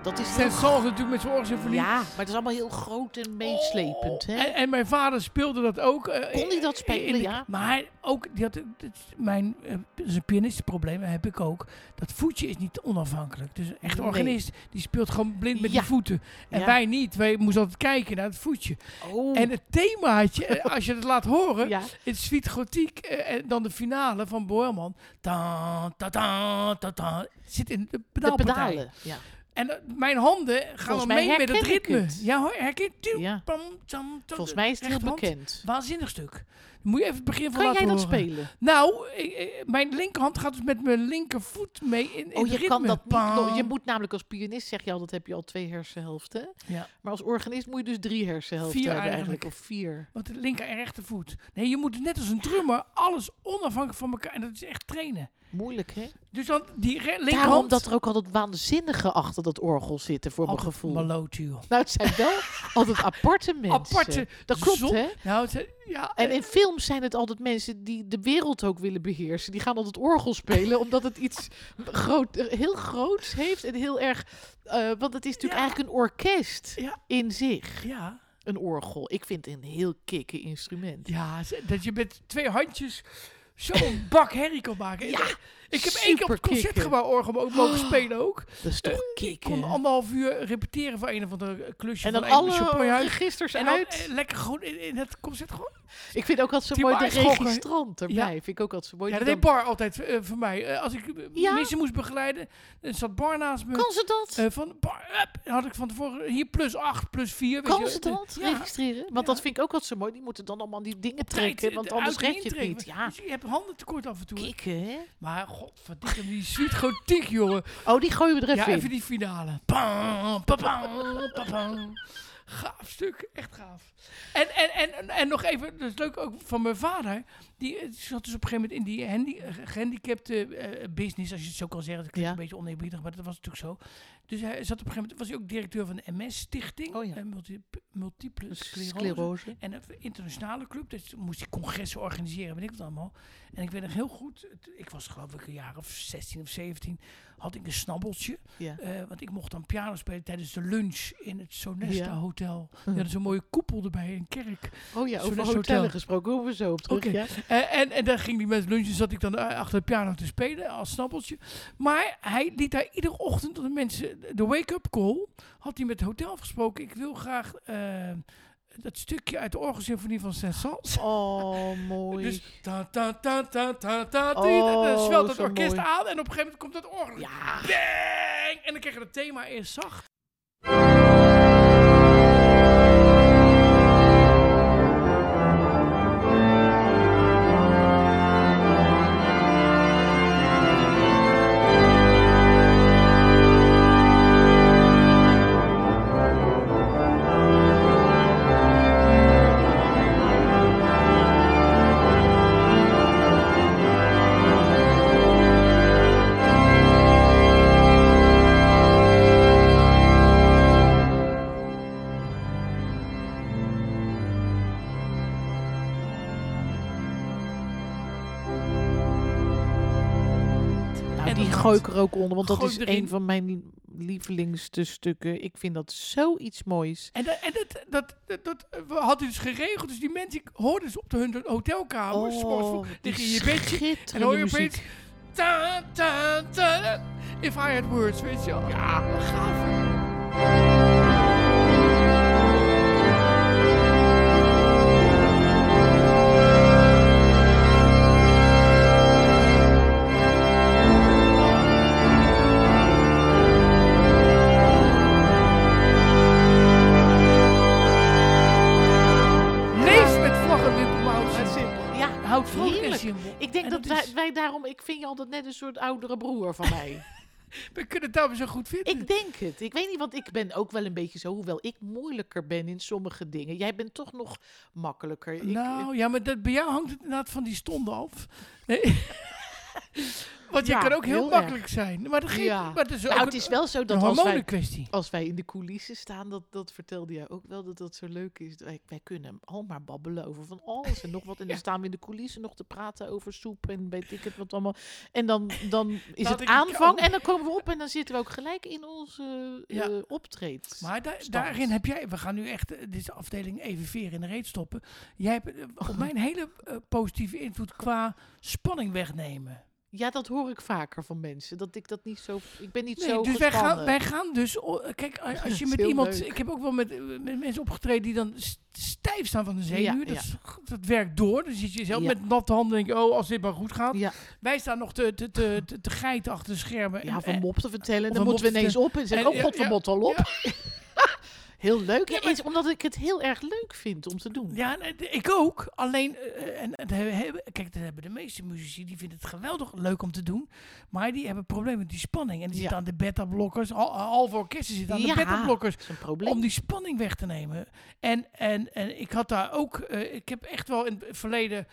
A: Dat is heel
B: Saint-Saëns natuurlijk met zijn orgelsymfonie.
A: Ja, maar het is allemaal heel groot en meeslepend. Hè?
B: En, en mijn vader speelde dat ook. eh,
A: Kon hij dat
B: in-
A: spelen,
B: in de-
A: ja?
B: Maar hij ook, die had, eh, dat is mijn, eh, dat is een pianistenprobleem, dat heb ik ook. Dat voetje is niet onafhankelijk. Dus een echt
A: Nee.
B: organist, die speelt gewoon blind met
A: Ja.
B: die voeten. En
A: Ja.
B: wij niet, wij moesten altijd kijken naar het voetje.
A: oh,
B: En het themaatje, eh, als je het laat horen,
A: ja.
B: Het Suite Gothique eh, en dan de finale van Boerman. Ta, ta, ta, ta, ta, zit in de
A: de
B: pedaalpartij.
A: pedalen. Ja.
B: En eh, mijn handen gaan
A: Volgens
B: wel
A: mij
B: mee met het
A: herken ik
B: ritme.
A: het.
B: Ja hoor, herken je?
A: Ja.
B: Pam, tam, tam,
A: Volgens mij is het heel
B: rechterhand.
A: bekend.
B: Waanzinnig stuk. Moet je even het begin van
A: Kan
B: laten
A: jij dat
B: horen.
A: spelen?
B: Nou, ik- ik- mijn linkerhand gaat dus met mijn linkervoet mee in, in
A: Oh,
B: het
A: je
B: ritme.
A: kan dat niet.
B: Pam.
A: lo- Je moet namelijk als pianist, zeg je al, dat heb je al twee hersenhelften.
B: Ja,
A: Maar als organist moet je dus drie hersenhelften
B: Vier
A: hebben
B: eigenlijk.
A: eigenlijk. Of vier.
B: want de linker en rechtervoet. Nee, je moet net als een drummer alles onafhankelijk van elkaar. En dat is echt trainen.
A: Moeilijk, hè?
B: Dus dan die re-
A: Daarom
B: linkerhand...
A: dat er ook altijd waanzinnige achter dat orgel zitten, voor mijn
B: Altijd
A: gevoel.
B: Malootje, joh.
A: Nou, het zijn wel altijd aparte mensen.
B: Aparte
A: Dat klopt,
B: zon-
A: hè?
B: Nou, het, ja,
A: En in films zijn het altijd mensen die de wereld ook willen beheersen. Die gaan altijd orgel
B: <laughs>
A: spelen, omdat het iets groot, heel groots heeft. En heel erg. eh, want het is natuurlijk
B: Ja.
A: eigenlijk een orkest
B: Ja.
A: in zich.
B: ja,
A: Een orgel. Ik vind het een heel kikke instrument.
B: ja, ze- dat je met twee handjes
A: <laughs>
B: zo'n bak herrie kan maken.
A: Ja,
B: ik heb één keer op het
A: superkikker.
B: concertgebouw orgel mo- mogen spelen ook.
A: Dat <gasps> is toch
B: Eh, Ik
A: kikken.
B: kon anderhalf uur repeteren voor een of andere klusje
A: en dan
B: van een
A: alle
B: Chopinhuis.
A: registers
B: En dan
A: uit.
B: eh, lekker gewoon in, in het concert gewoon.
A: ik vind ook altijd zo
B: die
A: mooi de
B: waarschokken.
A: registrant erbij. Vind ik ook altijd zo mooi.
B: Ja, dat
A: Die
B: deed
A: dan-
B: Bar altijd eh, voor mij. Eh, als ik eh,
A: Ja?
B: mensen moest begeleiden, dan zat Bar naast me.
A: kan ze dat?
B: Eh, van Bar, up, dan had ik van tevoren hier plus 8, plus 4.
A: Kan ze dat
B: Ja.
A: registreren? Want
B: Ja. eh,
A: dat vind ik ook altijd zo mooi. Die moeten dan allemaal die dingen trekken, want anders red je het niet. Ja,
B: Dus je hebt handen tekort af en toe.
A: kikken, hè?
B: Maar godverdikke, die sweet gotiek, jongen.
A: Oh, die gooien we er
B: Ja,
A: even
B: even
A: in.
B: die finale. Pam, pam, pam, pam, pam. Gaaf stuk, echt gaaf. En, en, en, en, en nog even, dat is leuk ook van mijn vader. Die eh, zat dus op een gegeven moment in die handi- eh, gehandicapte eh, business, als je het zo kan zeggen. Dat klinkt
A: Ja.
B: een beetje oneerbiedig, maar dat was natuurlijk zo. Dus hij zat op een gegeven moment, was hij ook directeur van de MS-stichting.
A: Oh ja.
B: eh, multi- multiple sclerose.
A: Sclerose.
B: En een internationale club, dus moest ik congressen organiseren, weet ik wat allemaal. En ik weet nog heel goed, het- ik was geloof ik een jaar of 16 of 17, had ik een snabbeltje.
A: Ja.
B: eh, want ik mocht dan piano spelen tijdens de lunch in het Sonesta
A: Ja. <laughs>
B: Hotel. Die hadden zo'n mooie koepel erbij, een kerk.
A: Oh ja, over
B: Zo'n
A: hotellen
B: hotel.
A: gesproken. Hoeven we zo op terug,
B: Oké. <laughs>
A: ja?
B: Eh, en, en daar ging die mensen lunchen, zat ik dan eh, achter de piano te spelen als snabbeltje. Maar hij liet daar iedere ochtend de mensen, de wake-up call, had hij met het hotel afgesproken. Ik wil graag eh, dat stukje uit de orgelsymfonie van Saint-Saëns.
A: Oh, mooi.
B: Dus ta ta ta ta ta ta
A: Oh,
B: ti, dan zwelt het
A: zo
B: orkest
A: mooi.
B: aan en op een gegeven moment komt dat orgel.
A: ja.
B: Bang! En dan krijg je het thema eerst zacht.
A: Nou,
B: En
A: die
B: dat-
A: gooi ik er ook onder, want dat
B: Gooi
A: is
B: ik erin.
A: een van mijn lievelingste stukken. Ik vind dat zoiets moois.
B: En, dat, en dat, dat, dat, dat- we hadden dus geregeld. Dus die mensen ik hoorden ze op de, hun hotelkamer. s morgens vroeg,
A: Oh, die
B: liggen in je bedje. En dan
A: schitterende
B: hoor je
A: muziek.
B: opeens... Ta, ta, ta, ta. If I had words, weet je wel. Ja, gaaf. Leef met vlaggen, wimpelmouwen.
A: Maar simpel. Ja,
B: Houd vrolijk en
A: Heerlijk.
B: simpel.
A: ik denk
B: En
A: dat,
B: is-
A: wij, wij daarom... Ik vind je altijd net een soort oudere broer van
B: <laughs>
A: mij.
B: We kunnen het daarom zo goed vinden.
A: ik denk het. Ik weet niet, want ik ben ook wel een beetje zo. Hoewel ik moeilijker ben in sommige dingen. Jij bent toch nog makkelijker. Ik-
B: nou, ja, maar dat, bij jou hangt het inderdaad van die stonden af. Nee. <laughs> Want je
A: Ja,
B: kan ook heel,
A: heel erg.
B: makkelijk zijn. Maar, dat geeft,
A: Ja.
B: maar het is ook
A: nou, het
B: een-
A: is wel zo
B: een
A: dat als wij,
B: hormonenkwestie.
A: als wij in de coulissen staan, dat, dat vertelde jij ook wel, dat dat zo leuk is. Wij, wij kunnen al maar babbelen over van alles en nog
B: <laughs>
A: wat. En dan
B: Ja.
A: staan we in de coulissen nog te praten over soep en weet ik het wat allemaal. En dan,
B: <laughs>
A: dan is
B: Laat
A: het
B: ik-
A: aanvang
B: oh.
A: en dan komen we op en dan zitten we ook gelijk in onze eh
B: Ja.
A: optreed.
B: Maar da-
A: stand.
B: daarin heb jij, we gaan nu echt eh, deze afdeling even veer in de reet stoppen.
A: <laughs>
B: Jij hebt eh, op mijn hele eh, positieve invloed qua spanning wegnemen.
A: Ja, dat hoor ik vaker van mensen. Dat ik dat niet zo. Ik ben niet
B: Nee,
A: zo.
B: dus wij gaan,
A: gespannen.
B: wij gaan dus. o-
A: <laughs>
B: Kijk, a- als je
A: is
B: met
A: heel
B: iemand.
A: leuk.
B: Ik heb ook wel met, eh, met mensen opgetreden die dan st- stijf staan van de zenuw.
A: Ja,
B: dat,
A: ja.
B: is- dat werkt door. Dan zit je zelf
A: Ja.
B: met natte handen en denk je, oh, als dit maar goed gaat.
A: Ja.
B: Wij staan nog te, te, te, te, te geiten achter de schermen.
A: Ja,
B: En-
A: van
B: en-
A: mop te vertellen.
B: eh, Of
A: dan
B: een
A: moeten we
B: mop te
A: ineens op en zeggen,
B: en-
A: oh
B: ja,
A: god, de
B: ja,
A: mot al op. <laughs> heel leuk.
B: Ja,
A: Ja,
B: maar-
A: is omdat ik het heel erg leuk vind om te doen.
B: Ja, nee, de- ik ook. Alleen, eh, en, en he- hebben- kijk, dat hebben de meeste muzici, die vinden het geweldig leuk om te doen. Maar die hebben problemen met die spanning. En die
A: Ja.
B: zitten aan de beta-blokkers. Al- Halve orkesten zitten aan de
A: Ja.
B: beta-blokkers.
A: Dat is een probleem.
B: Om die spanning weg te nemen. En, en, en ik had daar ook, eh, ik heb echt wel in het verleden,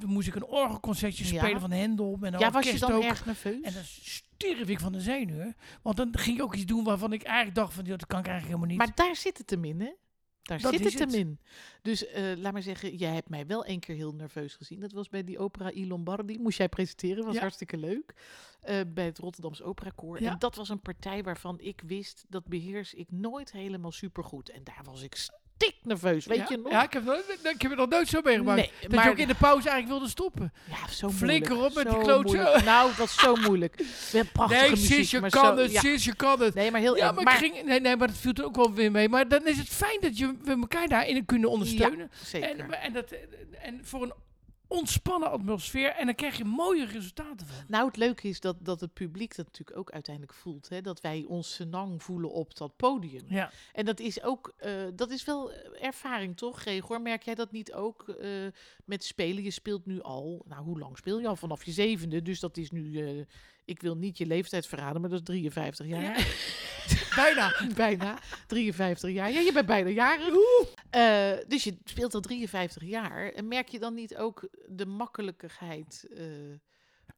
B: toen moest ik een orgelconcertje
A: Ja.
B: spelen van Hendel. Met een
A: ja, was je
B: orkest
A: dan
B: ook.
A: erg nerveus?
B: En dan stierf ik van de zenuwen. Want dan ging ik ook iets doen waarvan ik eigenlijk dacht van, joh, dat kan ik eigenlijk helemaal niet.
A: Maar daar zit het hem in, hè? Daar
B: Dat
A: zit
B: is
A: het hem
B: het.
A: in. Dus eh, laat maar zeggen, jij hebt mij wel één keer heel nerveus gezien. Dat was bij die opera I Lombardi. Moest jij presenteren, was
B: Ja.
A: hartstikke leuk. Eh, bij het Rotterdamse Opera Koor.
B: Ja.
A: En dat was een partij waarvan ik wist, dat beheers ik nooit helemaal supergoed. En daar was ik stik nerveus, weet
B: ja,
A: je nog?
B: Ja, ik heb, nooit- ik heb het nog nooit zo meegemaakt.
A: Nee,
B: dat
A: maar-
B: je ook in de pauze eigenlijk wilde stoppen.
A: Ja, zo
B: Flikker
A: moeilijk.
B: op met
A: zo
B: die klootzakken.
A: moeilijk. Nou, dat was zo moeilijk. We hebben prachtige
B: nee,
A: muziek.
B: sis, je
A: maar
B: kan
A: zo-
B: het,
A: ja.
B: sis, je kan het.
A: Nee, maar heel
B: ja,
A: erg.
B: maar, ik ging, nee, nee, maar dat viel er ook wel weer mee. Maar dan is het fijn dat je, we elkaar daarin kunnen ondersteunen.
A: zeker.
B: en, en, dat, en voor een ontspannen atmosfeer. En dan krijg je mooie resultaten van.
A: Nou, het leuke is dat, dat het publiek dat natuurlijk ook uiteindelijk voelt. Hè? Dat wij ons senang voelen op dat podium.
B: Ja.
A: En dat is ook, eh, dat is wel eh, ervaring toch, Gregor? Merk jij dat niet ook eh, met spelen? Je speelt nu al, nou hoe lang speel je al? Vanaf je zevende, dus dat is nu, eh, ik wil niet je leeftijd verraden, maar dat is 53 jaar.
B: Ja. <laughs> Bijna.
A: <laughs> bijna 53 jaar. Ja, je bent bijna jarig. Eh, dus je speelt al 53 jaar. En merk je dan niet ook de makkelijkheid, eh,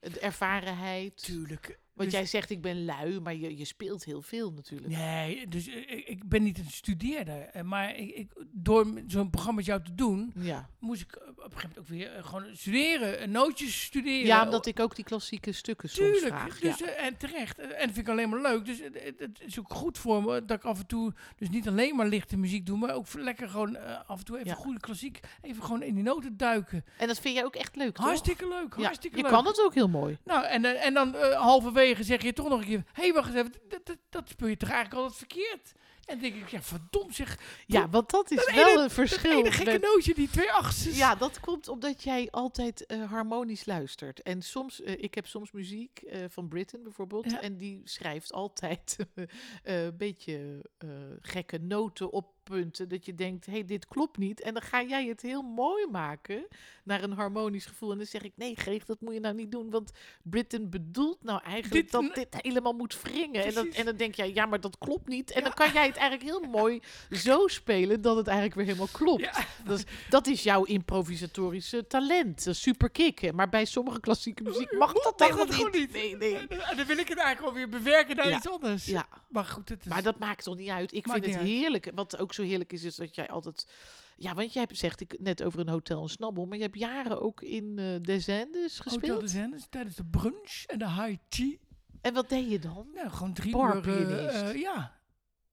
A: de ervarenheid?
B: Tuurlijk.
A: Want
B: Dus-
A: jij zegt, ik ben lui, maar je, je speelt heel veel natuurlijk.
B: Nee, dus eh, ik, ik ben niet een studeerder. eh, Maar ik, ik, door m- zo'n programma met jou te doen,
A: Ja.
B: moest ik eh, op een gegeven moment ook weer eh, gewoon studeren. eh, Nootjes studeren.
A: ja, omdat ik ook die klassieke stukken soms
B: Tuurlijk,
A: vraag.
B: dus,
A: ja.
B: eh, en terecht. Eh, En dat vind ik alleen maar leuk. Dus het, het- het is ook goed voor me dat ik af en toe dus niet alleen maar lichte muziek doe, maar ook voor lekker gewoon eh, af en toe even
A: Ja.
B: goede klassiek, even gewoon in die noten duiken.
A: En dat vind jij ook echt leuk, toch?
B: Hartstikke leuk,
A: Ja,
B: hartstikke
A: je
B: leuk.
A: kan het ook heel mooi.
B: Nou, en, eh, en dan eh, halverwege zeg je toch nog een keer, hé, hey, wacht eens even, dat, dat, dat speel je toch eigenlijk altijd verkeerd? En dan denk ik, ja, verdomd zeg,
A: Ja, want dat is
B: dat
A: wel
B: ene-
A: een
B: dat
A: verschil.
B: ene gekke
A: met-
B: nootje, die twee achtjes.
A: Ja, dat komt omdat jij altijd eh, harmonisch luistert. En soms, eh, ik heb soms muziek eh, van Britain bijvoorbeeld.
B: Ja.
A: En die schrijft altijd <laughs> eh, een beetje eh, gekke noten op punten. Dat je denkt, hé, hey, dit klopt niet. En dan ga jij het heel mooi maken naar een harmonisch gevoel. En dan zeg ik, nee, Greeg, dat moet je nou niet doen. Want Britain bedoelt nou eigenlijk dat
B: Dit-
A: dit helemaal moet wringen. En, dat,
B: Precies.
A: en dan denk jij, ja, maar dat klopt niet. En
B: Ja.
A: dan kan jij het eigenlijk heel mooi zo spelen dat het eigenlijk weer helemaal klopt.
B: <laughs> Ja,
A: Dat is, dat is jouw improvisatorische talent. Dat is super kicken. Maar bij sommige klassieke muziek mag dat
B: mag
A: helemaal
B: dat
A: niet.
B: gewoon niet.
A: Nee,
B: en
A: nee.
B: dan wil ik het eigenlijk alweer bewerken naar
A: Ja.
B: iets anders.
A: Ja,
B: Maar goed, het is...
A: maar dat maakt toch niet uit. Ik
B: Maakt
A: vind het
B: niet uit.
A: heerlijk. Wat ook zo heerlijk is, is dat jij altijd... Ja, want jij hebt, zegt ik net over een hotel en snabbel. Maar je hebt jaren ook in eh Des Andes
B: Hotel
A: gespeeld.
B: de Zendes Dus tijdens de brunch en de high tea.
A: En wat deed je dan?
B: Nou, gewoon drie uur. eh,
A: Barpianist.
B: eh, ja.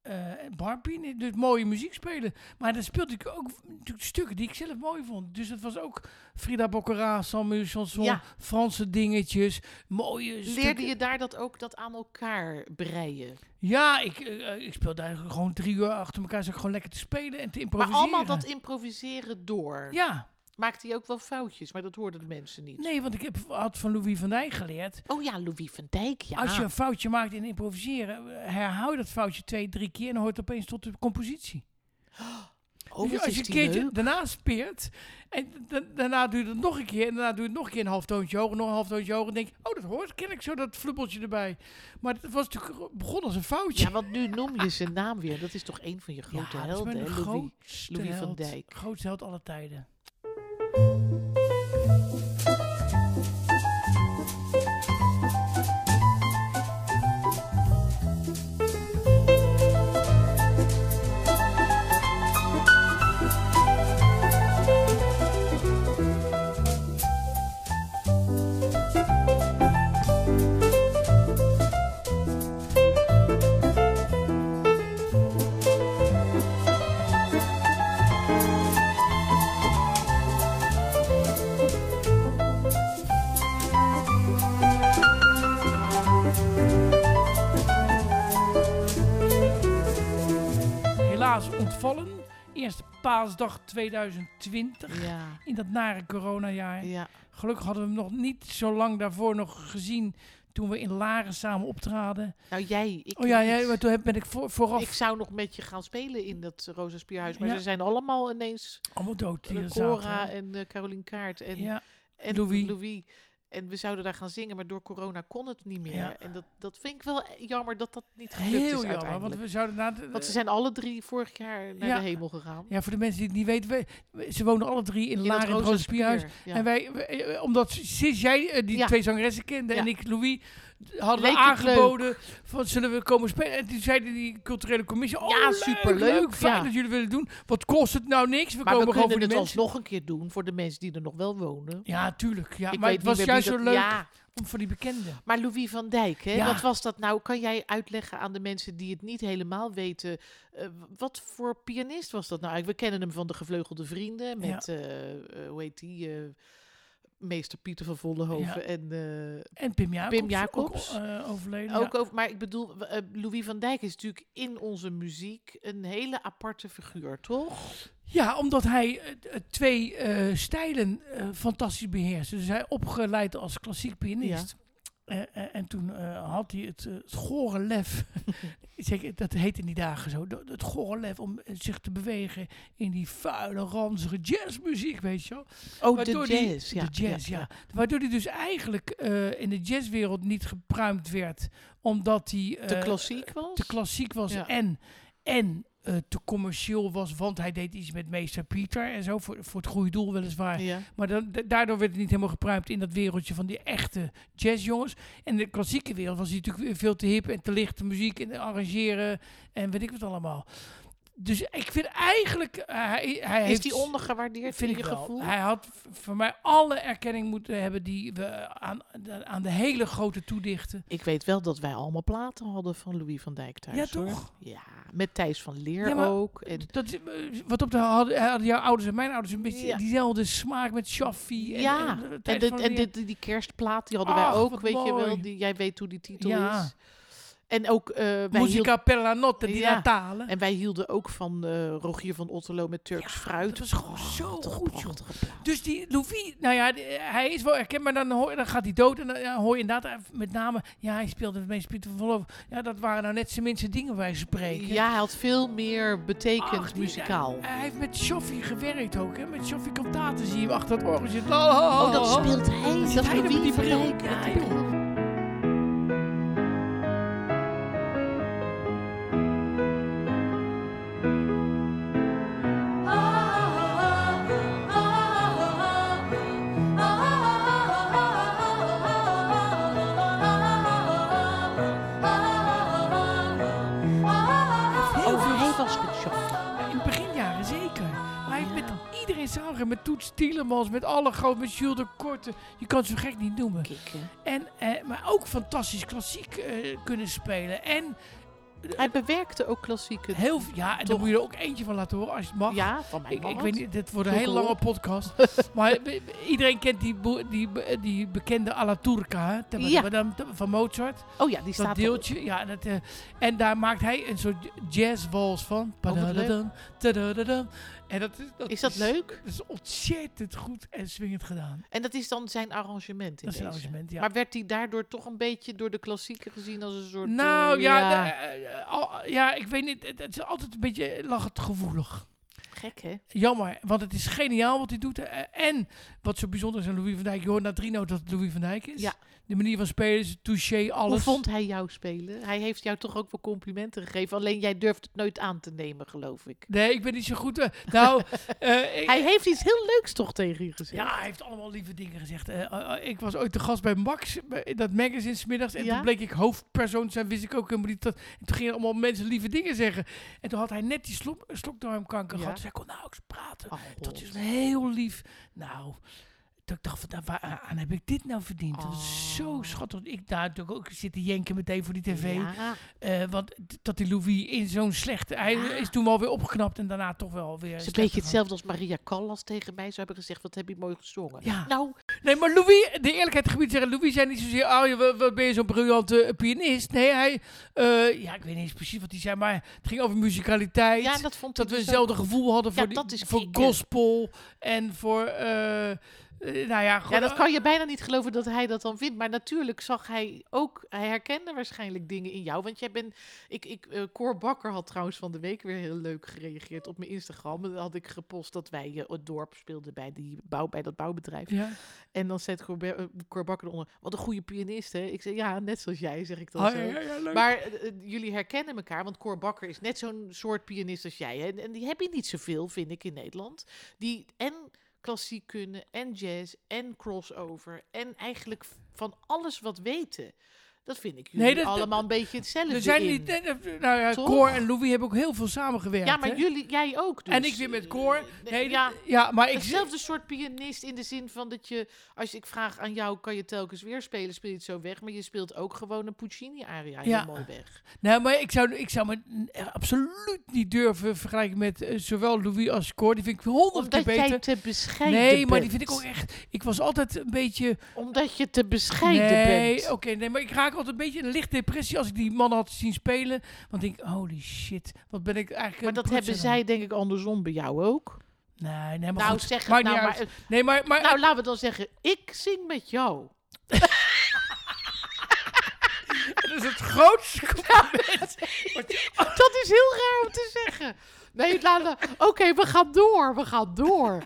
B: Eh, en barpianist, dus mooie muziek spelen. Maar dan speelde ik ook natuurlijk stukken die ik zelf mooi vond. Dus dat was ook Frida Boccara, Samuel Chanson,
A: Ja.
B: Franse dingetjes, mooie
A: Leerde
B: stukken.
A: je daar dat ook, dat aan elkaar breien?
B: Ja, ik, eh, eh, ik speelde daar gewoon drie uur achter elkaar. Zat ik gewoon lekker te spelen en te
A: Maar
B: improviseren.
A: allemaal dat improviseren door.
B: Ja,
A: Maakte je ook wel foutjes, maar dat hoorden de mensen niet.
B: nee, want ik heb, had van Louis van Dijk geleerd.
A: Oh ja, Louis van Dijk, ja.
B: Als je een foutje maakt in improviseren, eh, herhaal je dat foutje twee, drie keer en dan hoort het opeens tot de compositie.
A: Oh,
B: Dus
A: wat
B: als
A: is
B: je een
A: die
B: keertje
A: leuk.
B: daarna speert en da- daarna doe je het nog een keer en daarna doe je het nog een keer een half toontje hoger, nog een half toontje hoger en denk je, oh dat hoort, ken ik zo dat flubbeltje erbij. Maar het was natuurlijk begon als een foutje.
A: Ja, want nu noem je zijn naam weer. Dat is toch een van je grote
B: dat is
A: helden,
B: mijn
A: hè, Louis?
B: grootste
A: Louis van
B: held.
A: Dijk.
B: Grootste held alle tijden. paas ontvallen. Eerste paasdag 2020.
A: Ja,
B: In dat nare coronajaar.
A: ja.
B: Gelukkig hadden we hem nog niet zo lang daarvoor nog gezien. Toen we in Laren samen optraden.
A: Nou, jij. Ik,
B: Oh ja, ja
A: ik-
B: maar toen heb- ben ik voor, vooraf
A: Ik zou nog met je gaan spelen in dat Rosa Spierhuis. Maar
B: Ja.
A: ze zijn allemaal ineens... eh,
B: allemaal dood. Die er
A: Cora
B: zaten.
A: en eh, Carolien Kaart en,
B: ja,
A: en
B: Louis.
A: Louis. En we zouden daar gaan zingen, maar door corona kon het niet meer.
B: Ja.
A: En dat, dat vind ik wel eh, jammer dat dat niet gelukt is
B: heel jammer.
A: uiteindelijk.
B: Want
A: Want,
B: we zouden na de-
A: ze zijn alle drie vorig jaar naar
B: Ja.
A: de hemel gegaan.
B: Ja, voor de mensen die het niet weten. we- we- ze wonen alle drie in,
A: In
B: Laren, in het
A: Rosa
B: Roze Spierhuis.
A: Spier, ja.
B: En wij, we- eh, omdat sinds jij eh, die
A: Ja.
B: twee zangeressen kende en
A: Ja.
B: ik Louis, hadden
A: Leek
B: we
A: het
B: aangeboden van zullen we komen spelen. En toen zeiden die culturele commissie, oh
A: Ja,
B: leuk,
A: superleuk,
B: leuk, fijn
A: ja.
B: dat jullie willen doen. Wat kost het nou niks? We
A: maar we
B: komen gewoon
A: kunnen
B: voor de
A: het
B: mensen.
A: alsnog een keer doen voor de mensen die er nog wel wonen.
B: Ja, tuurlijk. Ja.
A: Ik
B: Maar
A: weet
B: het was
A: niet meer
B: juist
A: wie
B: zo
A: dat-
B: leuk
A: Ja,
B: om voor die bekenden.
A: maar Louis van Dijk, hè?
B: Ja.
A: wat was dat nou? Kan jij uitleggen aan de mensen die het niet helemaal weten... eh, wat voor pianist was dat nou eigenlijk? We kennen hem van de Gevleugelde Vrienden met, eh, eh, hoe heet die... eh, Meester Pieter van Vollenhoven en eh,
B: En Pim Jacobs.
A: Pim Jacobs.
B: Ook, eh, overleden.
A: Ook
B: ja.
A: over, maar ik bedoel, w- eh, Louis van Dijk is natuurlijk in onze muziek een hele aparte figuur, toch?
B: Ja, omdat hij eh, eh, twee eh, stijlen eh, fantastisch beheerste. Dus hij opgeleid als klassiek pianist. Eh, eh, en toen eh, had hij het, eh, het gore lef, <laughs> zeg, dat heet in die dagen zo, dat- het gore lef om eh, zich te bewegen in die vuile, ranzige jazzmuziek, weet je wel.
A: Oh,
B: Waardoor
A: de
B: die-
A: jazz. ja,
B: de jazz, ja. Waardoor hij dus eigenlijk eh, in de jazzwereld niet gepruimd werd, omdat hij...
A: Te
B: eh,
A: klassiek was?
B: te klassiek was
A: Ja.
B: en, en eh, te commercieel was, want hij deed iets met meester Pieter en zo, voor, voor het goede doel weliswaar.
A: Ja.
B: Maar dan, da- daardoor werd het niet helemaal gepruimd in dat wereldje van die echte jazzjongens. En in de klassieke wereld was hij natuurlijk weer veel te hip en te licht, muziek en arrangeren en weet ik wat allemaal. Dus ik vind eigenlijk, eh, hij, hij
A: Is
B: heeft...
A: die ondergewaardeerd
B: Vind
A: in
B: ik
A: je
B: wel.
A: gevoel?
B: Hij had v- voor mij alle erkenning moeten hebben die we aan, aan de hele grote toedichten.
A: Ik weet wel dat wij allemaal platen hadden van Louis van Dijk thuis,
B: Ja,
A: hoor.
B: toch?
A: Ja, met Thijs van Leer
B: Ja, maar-
A: ook. En,
B: Dat is, eh, wat op de hadden, hadden jouw ouders en mijn ouders een beetje
A: Ja.
B: diezelfde smaak met Shaffi. En,
A: ja,
B: en,
A: en,
B: Thijs
A: dit-
B: van
A: en
B: Leer.
A: dit, die kerstplaat, die hadden
B: Ach,
A: wij ook,
B: wat
A: weet je
B: mooi.
A: wel. Die, jij weet hoe die titel
B: Ja.
A: is. En ook, eh, wij hielden
B: Musica per la notte di
A: Ja.
B: Natale.
A: En wij hielden ook van eh, Rogier van Otterlo met Turks fruit.
B: dat was gewoon zo
A: Prachtige,
B: goed, joh.
A: prachtige plaat.
B: Dus die Louis, nou ja, die- hij is wel erkend, maar dan, hoor, dan gaat hij dood. En dan ja, hoor je inderdaad eh, met name, ja, hij speelde met meest Pieter van Verlof. Ja, dat waren nou net zijn minste dingen wij spreken.
A: Ja, hij had veel meer betekend
B: Ach, die- Oh,
A: muzikaal.
B: Hij, hij heeft met Shaffi gewerkt ook, hè. Met Shaffi Cantaten zie je hem achter het orgel zitten. Oh, oh, oh,
A: oh, dat
B: oh.
A: speelt hij. Dat,
B: hij dan
A: Louis
B: met die
A: van
B: bril?
A: Dijk,
B: Ja,
A: met die
B: joh.
A: bril. Oh, hij was met Sjoerd.
B: In het beginjaren zeker. Maar hij heeft met iedereen samengewerkt. Met Toets Tielemans, met alle groot, met Jules de Korte. Je kan het zo gek niet noemen.
A: Kikken.
B: En, eh, maar ook fantastisch klassiek eh, kunnen spelen. En
A: Hij bewerkte ook klassieke.
B: heel veel... Ja, en dan
A: Toch.
B: moet je er ook eentje van laten horen als je het mag.
A: Ja, van mij
B: Ik, ik
A: mag
B: weet
A: het.
B: niet, dit wordt een
A: Zoek
B: hele
A: hem op.
B: lange
A: <laughs>
B: podcast. maar i- iedereen kent die, boe- die, be- die bekende Alla Turca hè, te-
A: Ja.
B: te- te- van Mozart.
A: Oh ja, die
B: Dat
A: staat op.
B: deeltje. Ja, dat, eh, en daar maakt hij een soort jazzwals van.
A: wat leuk.
B: Padadadam, tadadadam. En dat is, dat
A: Is dat leuk?
B: Dat is ontzettend goed en swingend gedaan.
A: En dat is dan zijn arrangement in
B: Dat is een
A: deze.
B: arrangement, ja.
A: Maar werd hij daardoor toch een beetje door de klassieken gezien als een soort...
B: nou
A: eh,
B: ja, de- eh, al- ja, ik weet niet. Het, het is altijd een beetje lachend gevoelig.
A: Gek, hè?
B: Jammer, want het is geniaal wat hij doet. eh, En wat zo bijzonder is aan Louis van Dijk. Je hoort na drie noten dat het Louis van Dijk is.
A: Ja.
B: De manier van spelen is touché, alles.
A: Hoe vond hij jou spelen? Hij heeft jou toch ook wel complimenten gegeven. Alleen jij durft het nooit aan te nemen, geloof ik.
B: Nee, ik ben niet zo goed. eh, nou, <laughs> eh, ik-
A: Hij heeft iets heel leuks toch tegen je gezegd?
B: Ja, hij heeft allemaal lieve dingen gezegd. Eh, eh, eh, ik was ooit te gast bij Max, bij- in dat magazine 's middags En
A: Ja?
B: toen bleek ik hoofdpersoon te zijn, wist ik ook helemaal niet. Dat, en toen gingen allemaal mensen lieve dingen zeggen. En toen had hij net die slok, eh, slokdarmkanker
A: Ja.
B: nou, gehad. Dus hij kon nauwelijks praten.
A: Oh,
B: Dat is heel lief. Nou, Dat ik dacht, van, nou, waaraan heb ik dit nou verdiend? Dat is zo
A: Oh.
B: schattig. Ik daar natuurlijk ook zit te jenken meteen voor die tv.
A: Ja.
B: Eh, want d- dat die Louis in zo'n slechte... Hij
A: Ja.
B: is toen wel weer opgeknapt en daarna toch wel weer...
A: Het is een
B: slechter
A: beetje
B: gaan.
A: hetzelfde als Maria Callas tegen mij zou hebben gezegd: Wat heb je mooi gezongen?
B: Ja.
A: Nou,
B: Nee, maar Louis, de eerlijkheid gebied zeggen, Louis zei niet zozeer, oh, je- wat- wat ben je zo'n briljante eh, pianist? Nee, hij, eh, ja, ik weet niet eens precies wat hij zei, maar het ging over musicaliteit.
A: ja,
B: dat,
A: dat vond ik
B: we
A: dus
B: hetzelfde
A: ook-
B: gevoel hadden
A: Ja,
B: voor, die-
A: dat is
B: voor
A: kicken.
B: gospel en voor, eh, eh, nou ja,
A: Ja,
B: gewoon-
A: dat kan je bijna niet geloven dat hij dat dan vindt. Maar natuurlijk zag hij ook, hij herkende waarschijnlijk dingen in jou. Want jij bent, ik, ik, eh, Cor Bakker had trouwens van de week weer heel leuk gereageerd op mijn Instagram. En Dan had ik gepost dat wij eh, het dorp speelden bij, die bouw, bij dat bouwbedrijf.
B: Ja.
A: En dan zet Cor, Be- eh, Cor Bakker eronder, wat een goede pianist hè. Ik zei, ja, net zoals jij, zeg ik dan
B: Oh,
A: zo.
B: ja, ja, ja, leuk.
A: Maar eh, eh, jullie herkennen elkaar, want Cor Bakker is net zo'n soort pianist als jij. hè. En, en die heb je niet zoveel, vind ik, in Nederland. Die en klassiek kunnen, en jazz, en crossover, en eigenlijk v- van alles wat weten. Dat vind ik jullie
B: Nee, dat-
A: allemaal een beetje hetzelfde
B: er zijn
A: in.
B: niet, nee, nee, nou ja,
A: Toch?
B: Cor en Louis hebben ook heel veel samengewerkt,
A: ja, maar
B: hè?
A: jullie, jij ook dus.
B: En ik weer met Cor.
A: Eh,
B: Nee,
A: ja,
B: ja. ja, maar ik...
A: hetzelfde soort pianist in de zin van dat je... Als ik vraag aan jou, kan je telkens weer spelen, speel je het zo weg. Maar je speelt ook gewoon een Puccini-aria heel
B: Ja.
A: mooi weg.
B: Nou, maar ik zou, ik zou me eh, absoluut niet durven vergelijken met eh, zowel Louis als Cor. Die vind ik honderd keer
A: Omdat
B: beter.
A: jij te bescheiden
B: nee, maar
A: bent.
B: die vind ik ook echt... Ik was altijd een beetje...
A: Omdat je te bescheiden
B: nee,
A: bent.
B: oké, nee, maar ik raak altijd een beetje in een licht depressie als ik die man had zien spelen. Want ik denk, holy shit, wat ben ik eigenlijk...
A: Maar
B: een
A: dat hebben
B: prutser dan.
A: zij denk ik andersom bij jou ook.
B: Nee, nee, maar
A: nou,
B: goed.
A: zeg het
B: maakt
A: nou,
B: niet
A: maar,
B: uit. Nee, maar... maar
A: nou, laten we dan zeggen, ik zing met jou.
B: <laughs> dat is het grootste compliment.
A: Dat is heel raar om te zeggen. Nee, laten we- Oké, we gaan door, we gaan door.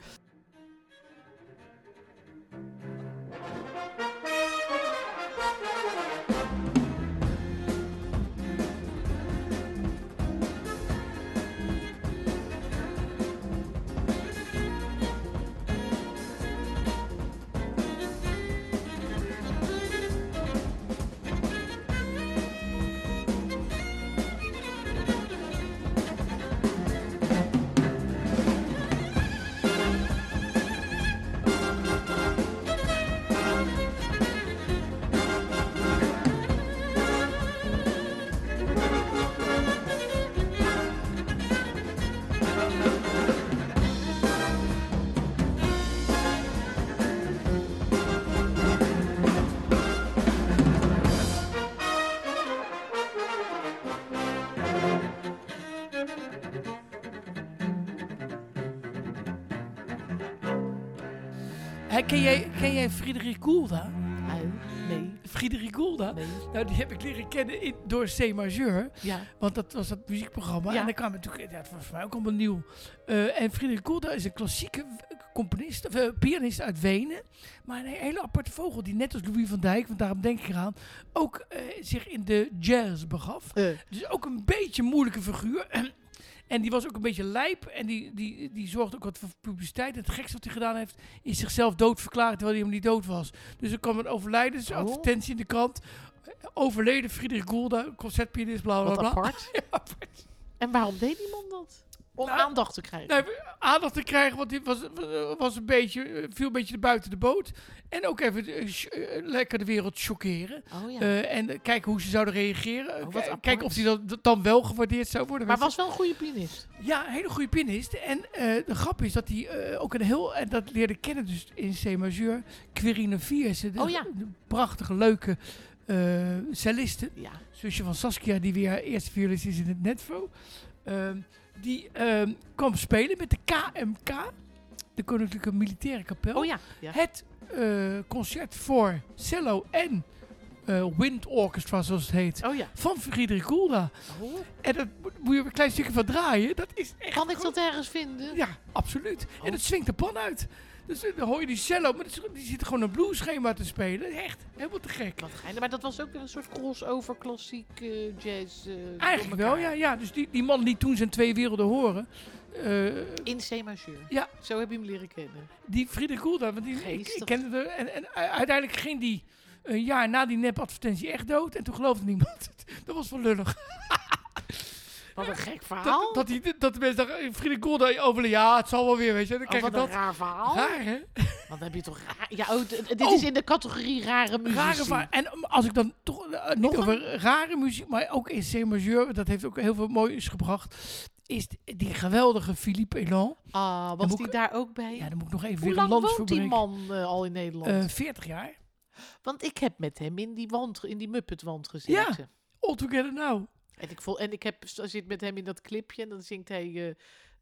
B: Hé, ken, jij, ken jij Friedrich Gulda?
A: Nee, nee,
B: Friedrich Gulda?
A: nee.
B: Nou, die heb ik leren kennen in, door C majeur.
A: Ja,
B: Want dat was dat muziekprogramma.
A: Ja.
B: En daar kwam natuurlijk, ja, het was voor mij ook allemaal nieuw. Eh, en Frederik Kolda is een klassieke w- componist, of eh, pianist uit Wenen. Maar een hele aparte vogel die net als Louis van Dijk, want daarom denk ik eraan, ook eh, zich in de jazz begaf.
A: eh,
B: Dus ook een beetje een moeilijke figuur. En die was ook een beetje lijp en die, die, die zorgde ook wat voor publiciteit. En het gekste wat hij gedaan heeft, is zichzelf doodverklaard terwijl hij hem niet dood was. Dus er kwam een overlijdensadvertentie in de krant. Overleden Friedrich Golda, concertpianist, bla bla
A: wat
B: bla. <laughs>
A: apart. En waarom deed die man dat? Om
B: Nou,
A: aandacht te krijgen.
B: Nou, aandacht te krijgen, want dit was, was een beetje, viel een beetje buiten de boot. En ook even eh, sh- eh, lekker de wereld chockeren.
A: oh ja.
B: Eh, en kijken hoe ze zouden reageren.
A: Oh, wat
B: Kijk-
A: apart.
B: kijken of die dan, dat dan wel gewaardeerd zou worden.
A: maar
B: weet je.
A: was wel een goede pianist.
B: Ja, een hele goede pianist. En eh, de grap is dat hij eh, ook een heel... En dat leerde ik kennen dus in C-majeur. Quirine Viers. Een
A: Oh ja.
B: een prachtige, leuke eh celliste.
A: Ja.
B: Zusje van Saskia, die weer haar eerste violist is in het Netvo. Ehm, die ehm, kwam spelen met de KMK. De Koninklijke Militaire Kapel.
A: Oh ja. ja.
B: Het eh, concert voor cello en eh, wind orchestra, zoals het heet.
A: Oh ja.
B: Van Friedrich Gulda.
A: Oh.
B: En daar moet- moet je een klein stukje van draaien. Dat is echt
A: Kan ik
B: goed.
A: dat ergens vinden?
B: Ja, absoluut.
A: Oh.
B: En het swingt de pan uit. Dus eh, dan hoor je die cello, maar dat is- die zit gewoon een blueschema te spelen. Echt, helemaal te gek.
A: Wat geinig. Maar dat was ook weer een soort crossover klassiek eh, jazz. eh, door
B: Eigenlijk wel,
A: elkaar.
B: ja. ja. Dus die, die man die toen zijn twee werelden horen, eh,
A: In C majeur.
B: Ja.
A: Zo heb je hem leren kennen.
B: die Friedrich Gulda, want die, ik,
A: Geestig.
B: ik kende hem. En, en u- uiteindelijk ging die een jaar na die nepadvertentie echt dood. En toen geloofde niemand het. <laughs> Dat was wel lullig.
A: Wat een gek verhaal.
B: Dat, eh, dat, die, dat de mensen dachten, eh, Friedrich Gulda overleden. Ja, het zal wel weer, weet je. Dan
A: Oh,
B: krijg je
A: wat een
B: dat.
A: raar verhaal.
B: Raar, hè?
A: Want dan heb je toch... ra- Ja, oh, d- dit is
B: Oh.
A: in de categorie rare muziek.
B: Rare va- En um, als ik dan toch eh, niet
A: een?
B: over rare muziek, maar ook in C majeur, dat heeft ook heel veel moois gebracht, is die geweldige Philippe Elan.
A: Ah,
B: Dan
A: was
B: moet
A: die
B: ik-
A: daar ook bij?
B: Ja, dan moet ik nog even
A: Hoe
B: weer een
A: lang
B: lans
A: woont die
B: verbreken.
A: man eh, al in Nederland?
B: Eh 40 jaar.
A: Want ik heb met hem in die, wand, in die Muppet-wand gezeten.
B: All together now.
A: En ik, vol, en ik heb, zo zit met hem in dat clipje en dan zingt hij... eh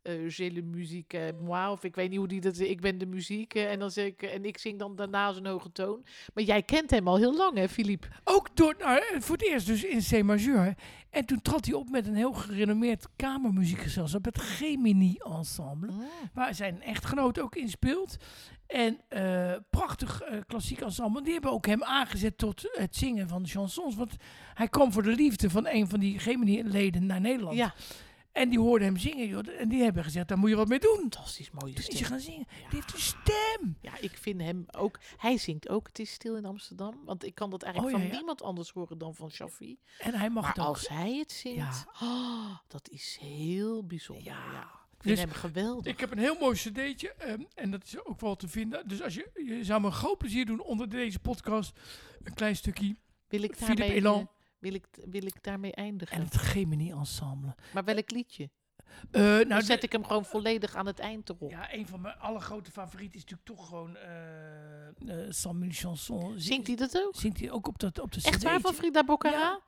A: eh J'ai le musique eh, moi, of ik weet niet hoe die dat... Ik ben de muziek eh, en, dan zeg ik, en ik zing dan daarna zo'n hoge toon. Maar jij kent hem al heel lang, hè, Philippe?
B: Ook door, nou, eh, voor het eerst dus in C majeur. En toen trad hij op met een heel gerenommeerd kamermuziekgezelschap, het Gemini Ensemble.
A: Oh.
B: waar zijn echtgenoot ook in speelt. En eh, prachtig eh, klassiek ensemble. Die hebben ook hem aangezet tot het zingen van chansons. Want hij kwam voor de liefde van een van die Gemini-leden naar Nederland.
A: Ja,
B: En die hoorden hem zingen. Joh, en die hebben gezegd, daar moet je wat mee doen.
A: fantastisch mooie
B: Dus is
A: stem.
B: hij gaan zingen. Die heeft een stem.
A: Ja, ik vind hem ook. Hij zingt ook Het is stil in Amsterdam. Want ik kan dat eigenlijk
B: Oh, ja,
A: van
B: ja.
A: niemand anders horen dan van Shafi.
B: En hij mag
A: Maar
B: ook.
A: als hij het zingt,
B: Ja.
A: ah, dat is heel bijzonder. Ja. Ik vind
B: Dus-
A: hem geweldig.
B: Ik heb een heel mooi cd'tje ehm, en dat is ook wel te vinden. Dus als je, je zou me een groot plezier doen onder deze podcast. Een klein stukje.
A: Wil ik
B: Philippe
A: daarmee,
B: Elan.
A: eh, wil ik, wil ik daarmee eindigen?
B: En het Gemini Ensemble.
A: Maar welk liedje?
B: Eh, nou,
A: Dan
B: de-
A: zet ik hem gewoon volledig aan het eind erop.
B: Ja, een van mijn allergrote favorieten is natuurlijk toch gewoon eh eh Samuel Chanson.
A: Zingt hij dat ook?
B: Zingt hij ook op, dat, op de
A: Echt waar
B: cd'tje.
A: van Frida Boccara?
B: Ja.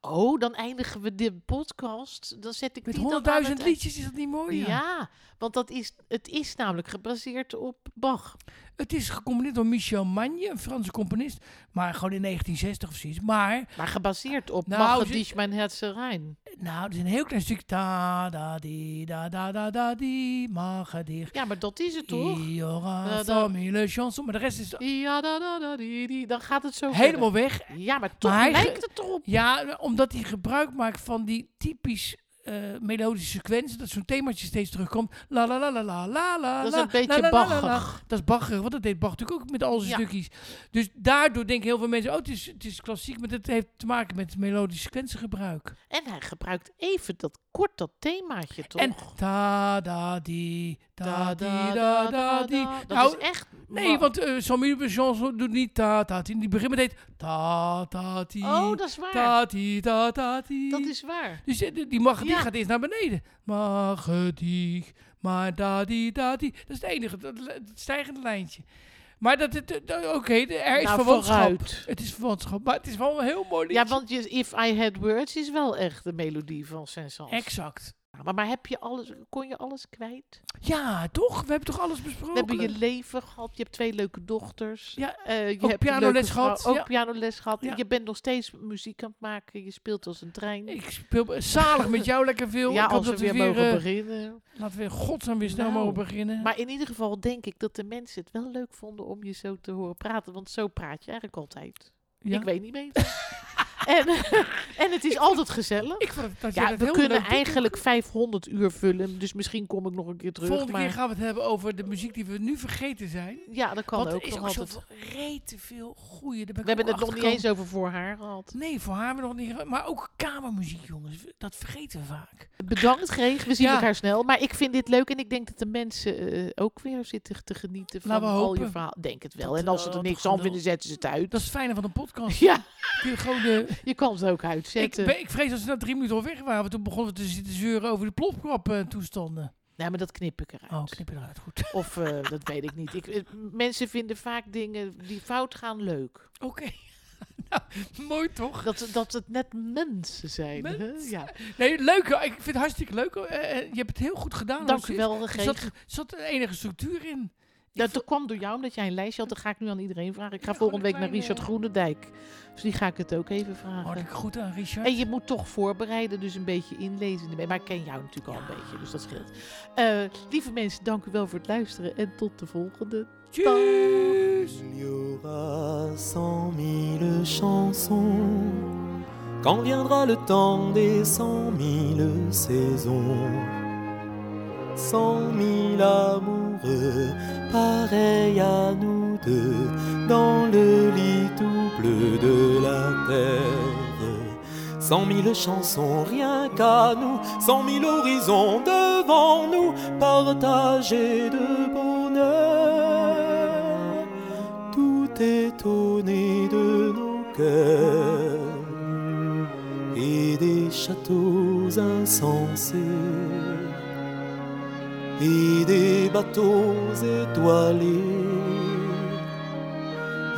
A: Oh, dan eindigen we de podcast. Dan zet ik
B: Met
A: die dan aan het
B: honderdduizend
A: eind.
B: liedjes is dat niet mooi?
A: Ja. want dat is, het is namelijk gebaseerd op Bach.
B: Het is gecomponeerd door Michel Magne, een Franse componist. Maar gewoon in 1960 of zoiets. Maar, eh,
A: Maar gebaseerd op
B: Nou,
A: nou,
B: ze-
A: dich mijn Herzen rein.
B: nou, het is een heel klein stuk. Da, da, di, da, da, da, da, di, magadir.
A: Ja, maar dat is het toch? Eh,
B: Il y aura
A: Da, da.
B: Samuel Chanson. Maar de rest is
A: Ja, da, da, da, di, di. dan gaat het zo
B: helemaal weg.
A: verder. Ja, maar toch
B: Maar hij
A: lijkt het erop.
B: Ja, omdat hij gebruik maakt van die typisch eh, melodische sequentie. Dat zo'n themaatje steeds terugkomt. La la la la la la la.
A: Dat is
B: la,
A: een beetje
B: la, la, la, la, la.
A: baggig.
B: Dat is baggerig, want dat deed Bach natuurlijk ook met al zijn
A: Ja.
B: stukjes. Dus daardoor denken heel veel mensen, oh het is, het is klassiek. Maar dat heeft te maken met melodische sequentiegebruik.
A: En hij gebruikt even dat kort dat themaatje toch?
B: En ta da di, ta di da da di.
A: Dat is
B: Nou,
A: echt...
B: Nee, want eh Samuel Bejanson doet niet ta ta ti. Die begint meteen ta ta ti.
A: Oh, dat is waar.
B: Ta ti ta ta ti.
A: Dat is waar.
B: Dus eh, die, die, mag, die
A: Ja.
B: gaat eerst naar beneden. Magedieg, maar da die, da die. Dat is het enige, dat, het stijgende lijntje. Maar dat, het- dat- oké, de- er is
A: Nou,
B: verwantschap.
A: vooruit.
B: Het is verwantschap, maar het is wel een heel mooi liedje.
A: Ja, want je- If I Had Words is wel echt de melodie van Saint-Saëns.
B: Exact.
A: Maar, maar heb je alles, kon je alles kwijt?
B: Ja, toch? We hebben toch alles
A: We
B: besproken?
A: hebben je leven gehad. Je hebt twee leuke dochters.
B: Ja,
A: Eh, je
B: ook
A: hebt een
B: pianoles
A: leuke vrouw,
B: gehad,
A: Ook
B: ja.
A: pianoles gehad.
B: Ja.
A: Je bent nog steeds muziek aan het maken. Je speelt als een trein.
B: ik speel zalig met jou lekker veel.
A: ja,
B: ik hoop
A: als we
B: dat
A: weer,
B: eh,
A: mogen beginnen.
B: Laten we in godsnaam weer snel
A: Nou,
B: mogen beginnen.
A: Maar in ieder geval denk ik dat de mensen het wel leuk vonden om je zo te horen praten. Want zo praat je eigenlijk altijd.
B: Ja.
A: Ik weet niet beter. <laughs> en, eh, en het is altijd gezellig.
B: Ik vond dat jij
A: ja,
B: dat
A: we
B: heel
A: kunnen
B: leuk doet.
A: eigenlijk 500 uur vullen. Dus misschien kom ik nog een keer terug.
B: Volgende
A: maar
B: keer gaan we het hebben over de muziek die we nu vergeten zijn.
A: ja, dat kan
B: Want
A: ook
B: er is
A: nog
B: ook
A: altijd.
B: zoveel rete veel goeie. Daar ben
A: We
B: ik
A: hebben het
B: ook
A: nog niet eens
B: achtergekomen.
A: over voor haar gehad.
B: Nee, voor haar hebben we nog niet... ge- Maar ook kamermuziek, jongens. Dat vergeten we vaak.
A: Bedankt, Greg. We zien
B: Ja.
A: elkaar snel. Maar ik vind dit leuk en ik denk dat de mensen eh, ook weer zitten te genieten van
B: Laten we
A: al je
B: hopen.
A: verhaal. Denk het wel.
B: Dat,
A: en als ze
B: eh,
A: er
B: dat
A: niks aan
B: gelul.
A: vinden, zetten ze het uit.
B: Dat is het fijne van een podcast.
A: <laughs> Ja,
B: Kun je gewoon de...
A: je kan ze ook
B: ik,
A: uitzetten.
B: ben, ik vrees dat ze na drie minuten al weg waren. want Toen begonnen we te zitten zeuren over de plopkap eh, toestanden.
A: Nee, maar dat knip ik eruit.
B: Oh, knip je eruit. Goed. <laughs>
A: Of eh, dat weet ik niet. Ik, eh, m- mensen vinden vaak dingen die fout gaan leuk.
B: Oké. <laughs> nou, mooi toch?
A: Dat, dat het net mensen zijn. Hè?
B: Mensen.
A: Ja.
B: Nee, leuk. hoor. Ik vind het hartstikke leuk. hoor. Eh, eh, je hebt het heel goed gedaan.
A: Dank u
B: hoor.
A: wel,
B: Er
A: Greg.
B: zat, zat een enige structuur in.
A: Nou, Dat, dat kwam door jou, omdat jij een lijstje had. Dat ga ik nu aan iedereen vragen. Ik ga
B: Ja, gewoon eh,
A: volgende week naar
B: een kleine-
A: Richard Groenendijk. Dus die ga ik het ook
B: Oh,
A: even vragen.
B: Hartelijk goed aan Richard.
A: En je moet toch voorbereiden, dus een beetje inlezen. ermee. Maar ik ken jou natuurlijk al een beetje, dus dat scheelt. Eh, lieve mensen, dank u wel voor het luisteren en tot de volgende.
B: Tjus!
C: Il y aura cent mille chansons quand viendra le temps des cent mille saisons. Cent mille amoureux, pareils à nous deux, dans le lit tout bleu de la terre. Cent mille chansons, rien qu'à nous, cent mille horizons devant nous, partagés de bonheur. bâtonnets de nos cœurs et des châteaux insensés et des bateaux étoilés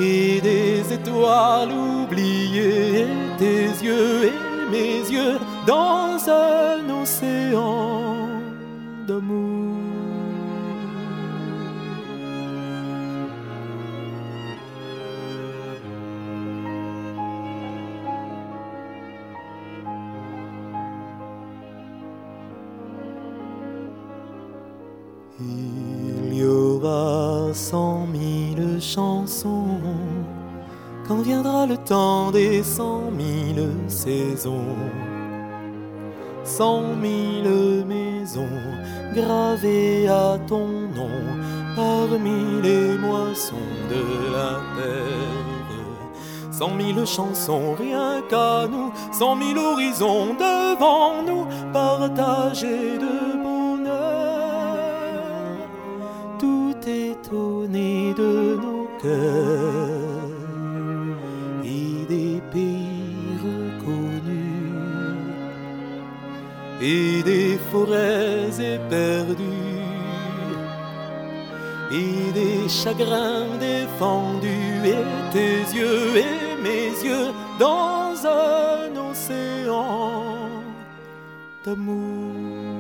C: et des étoiles oubliées et tes yeux et mes yeux e dans un océan d'amour. Il y aura cent mille chansons quand viendra le temps des cent mille saisons. Cent mille maisons gravées à ton nom parmi les moissons de la terre. Cent mille chansons rien qu'à nous, cent mille horizons devant nous, partagés de bonheur tout étonné de nos cœurs et des pays reconnus et des forêts éperdues et des chagrins défendus et tes yeux et mes yeux dans un océan d'amour.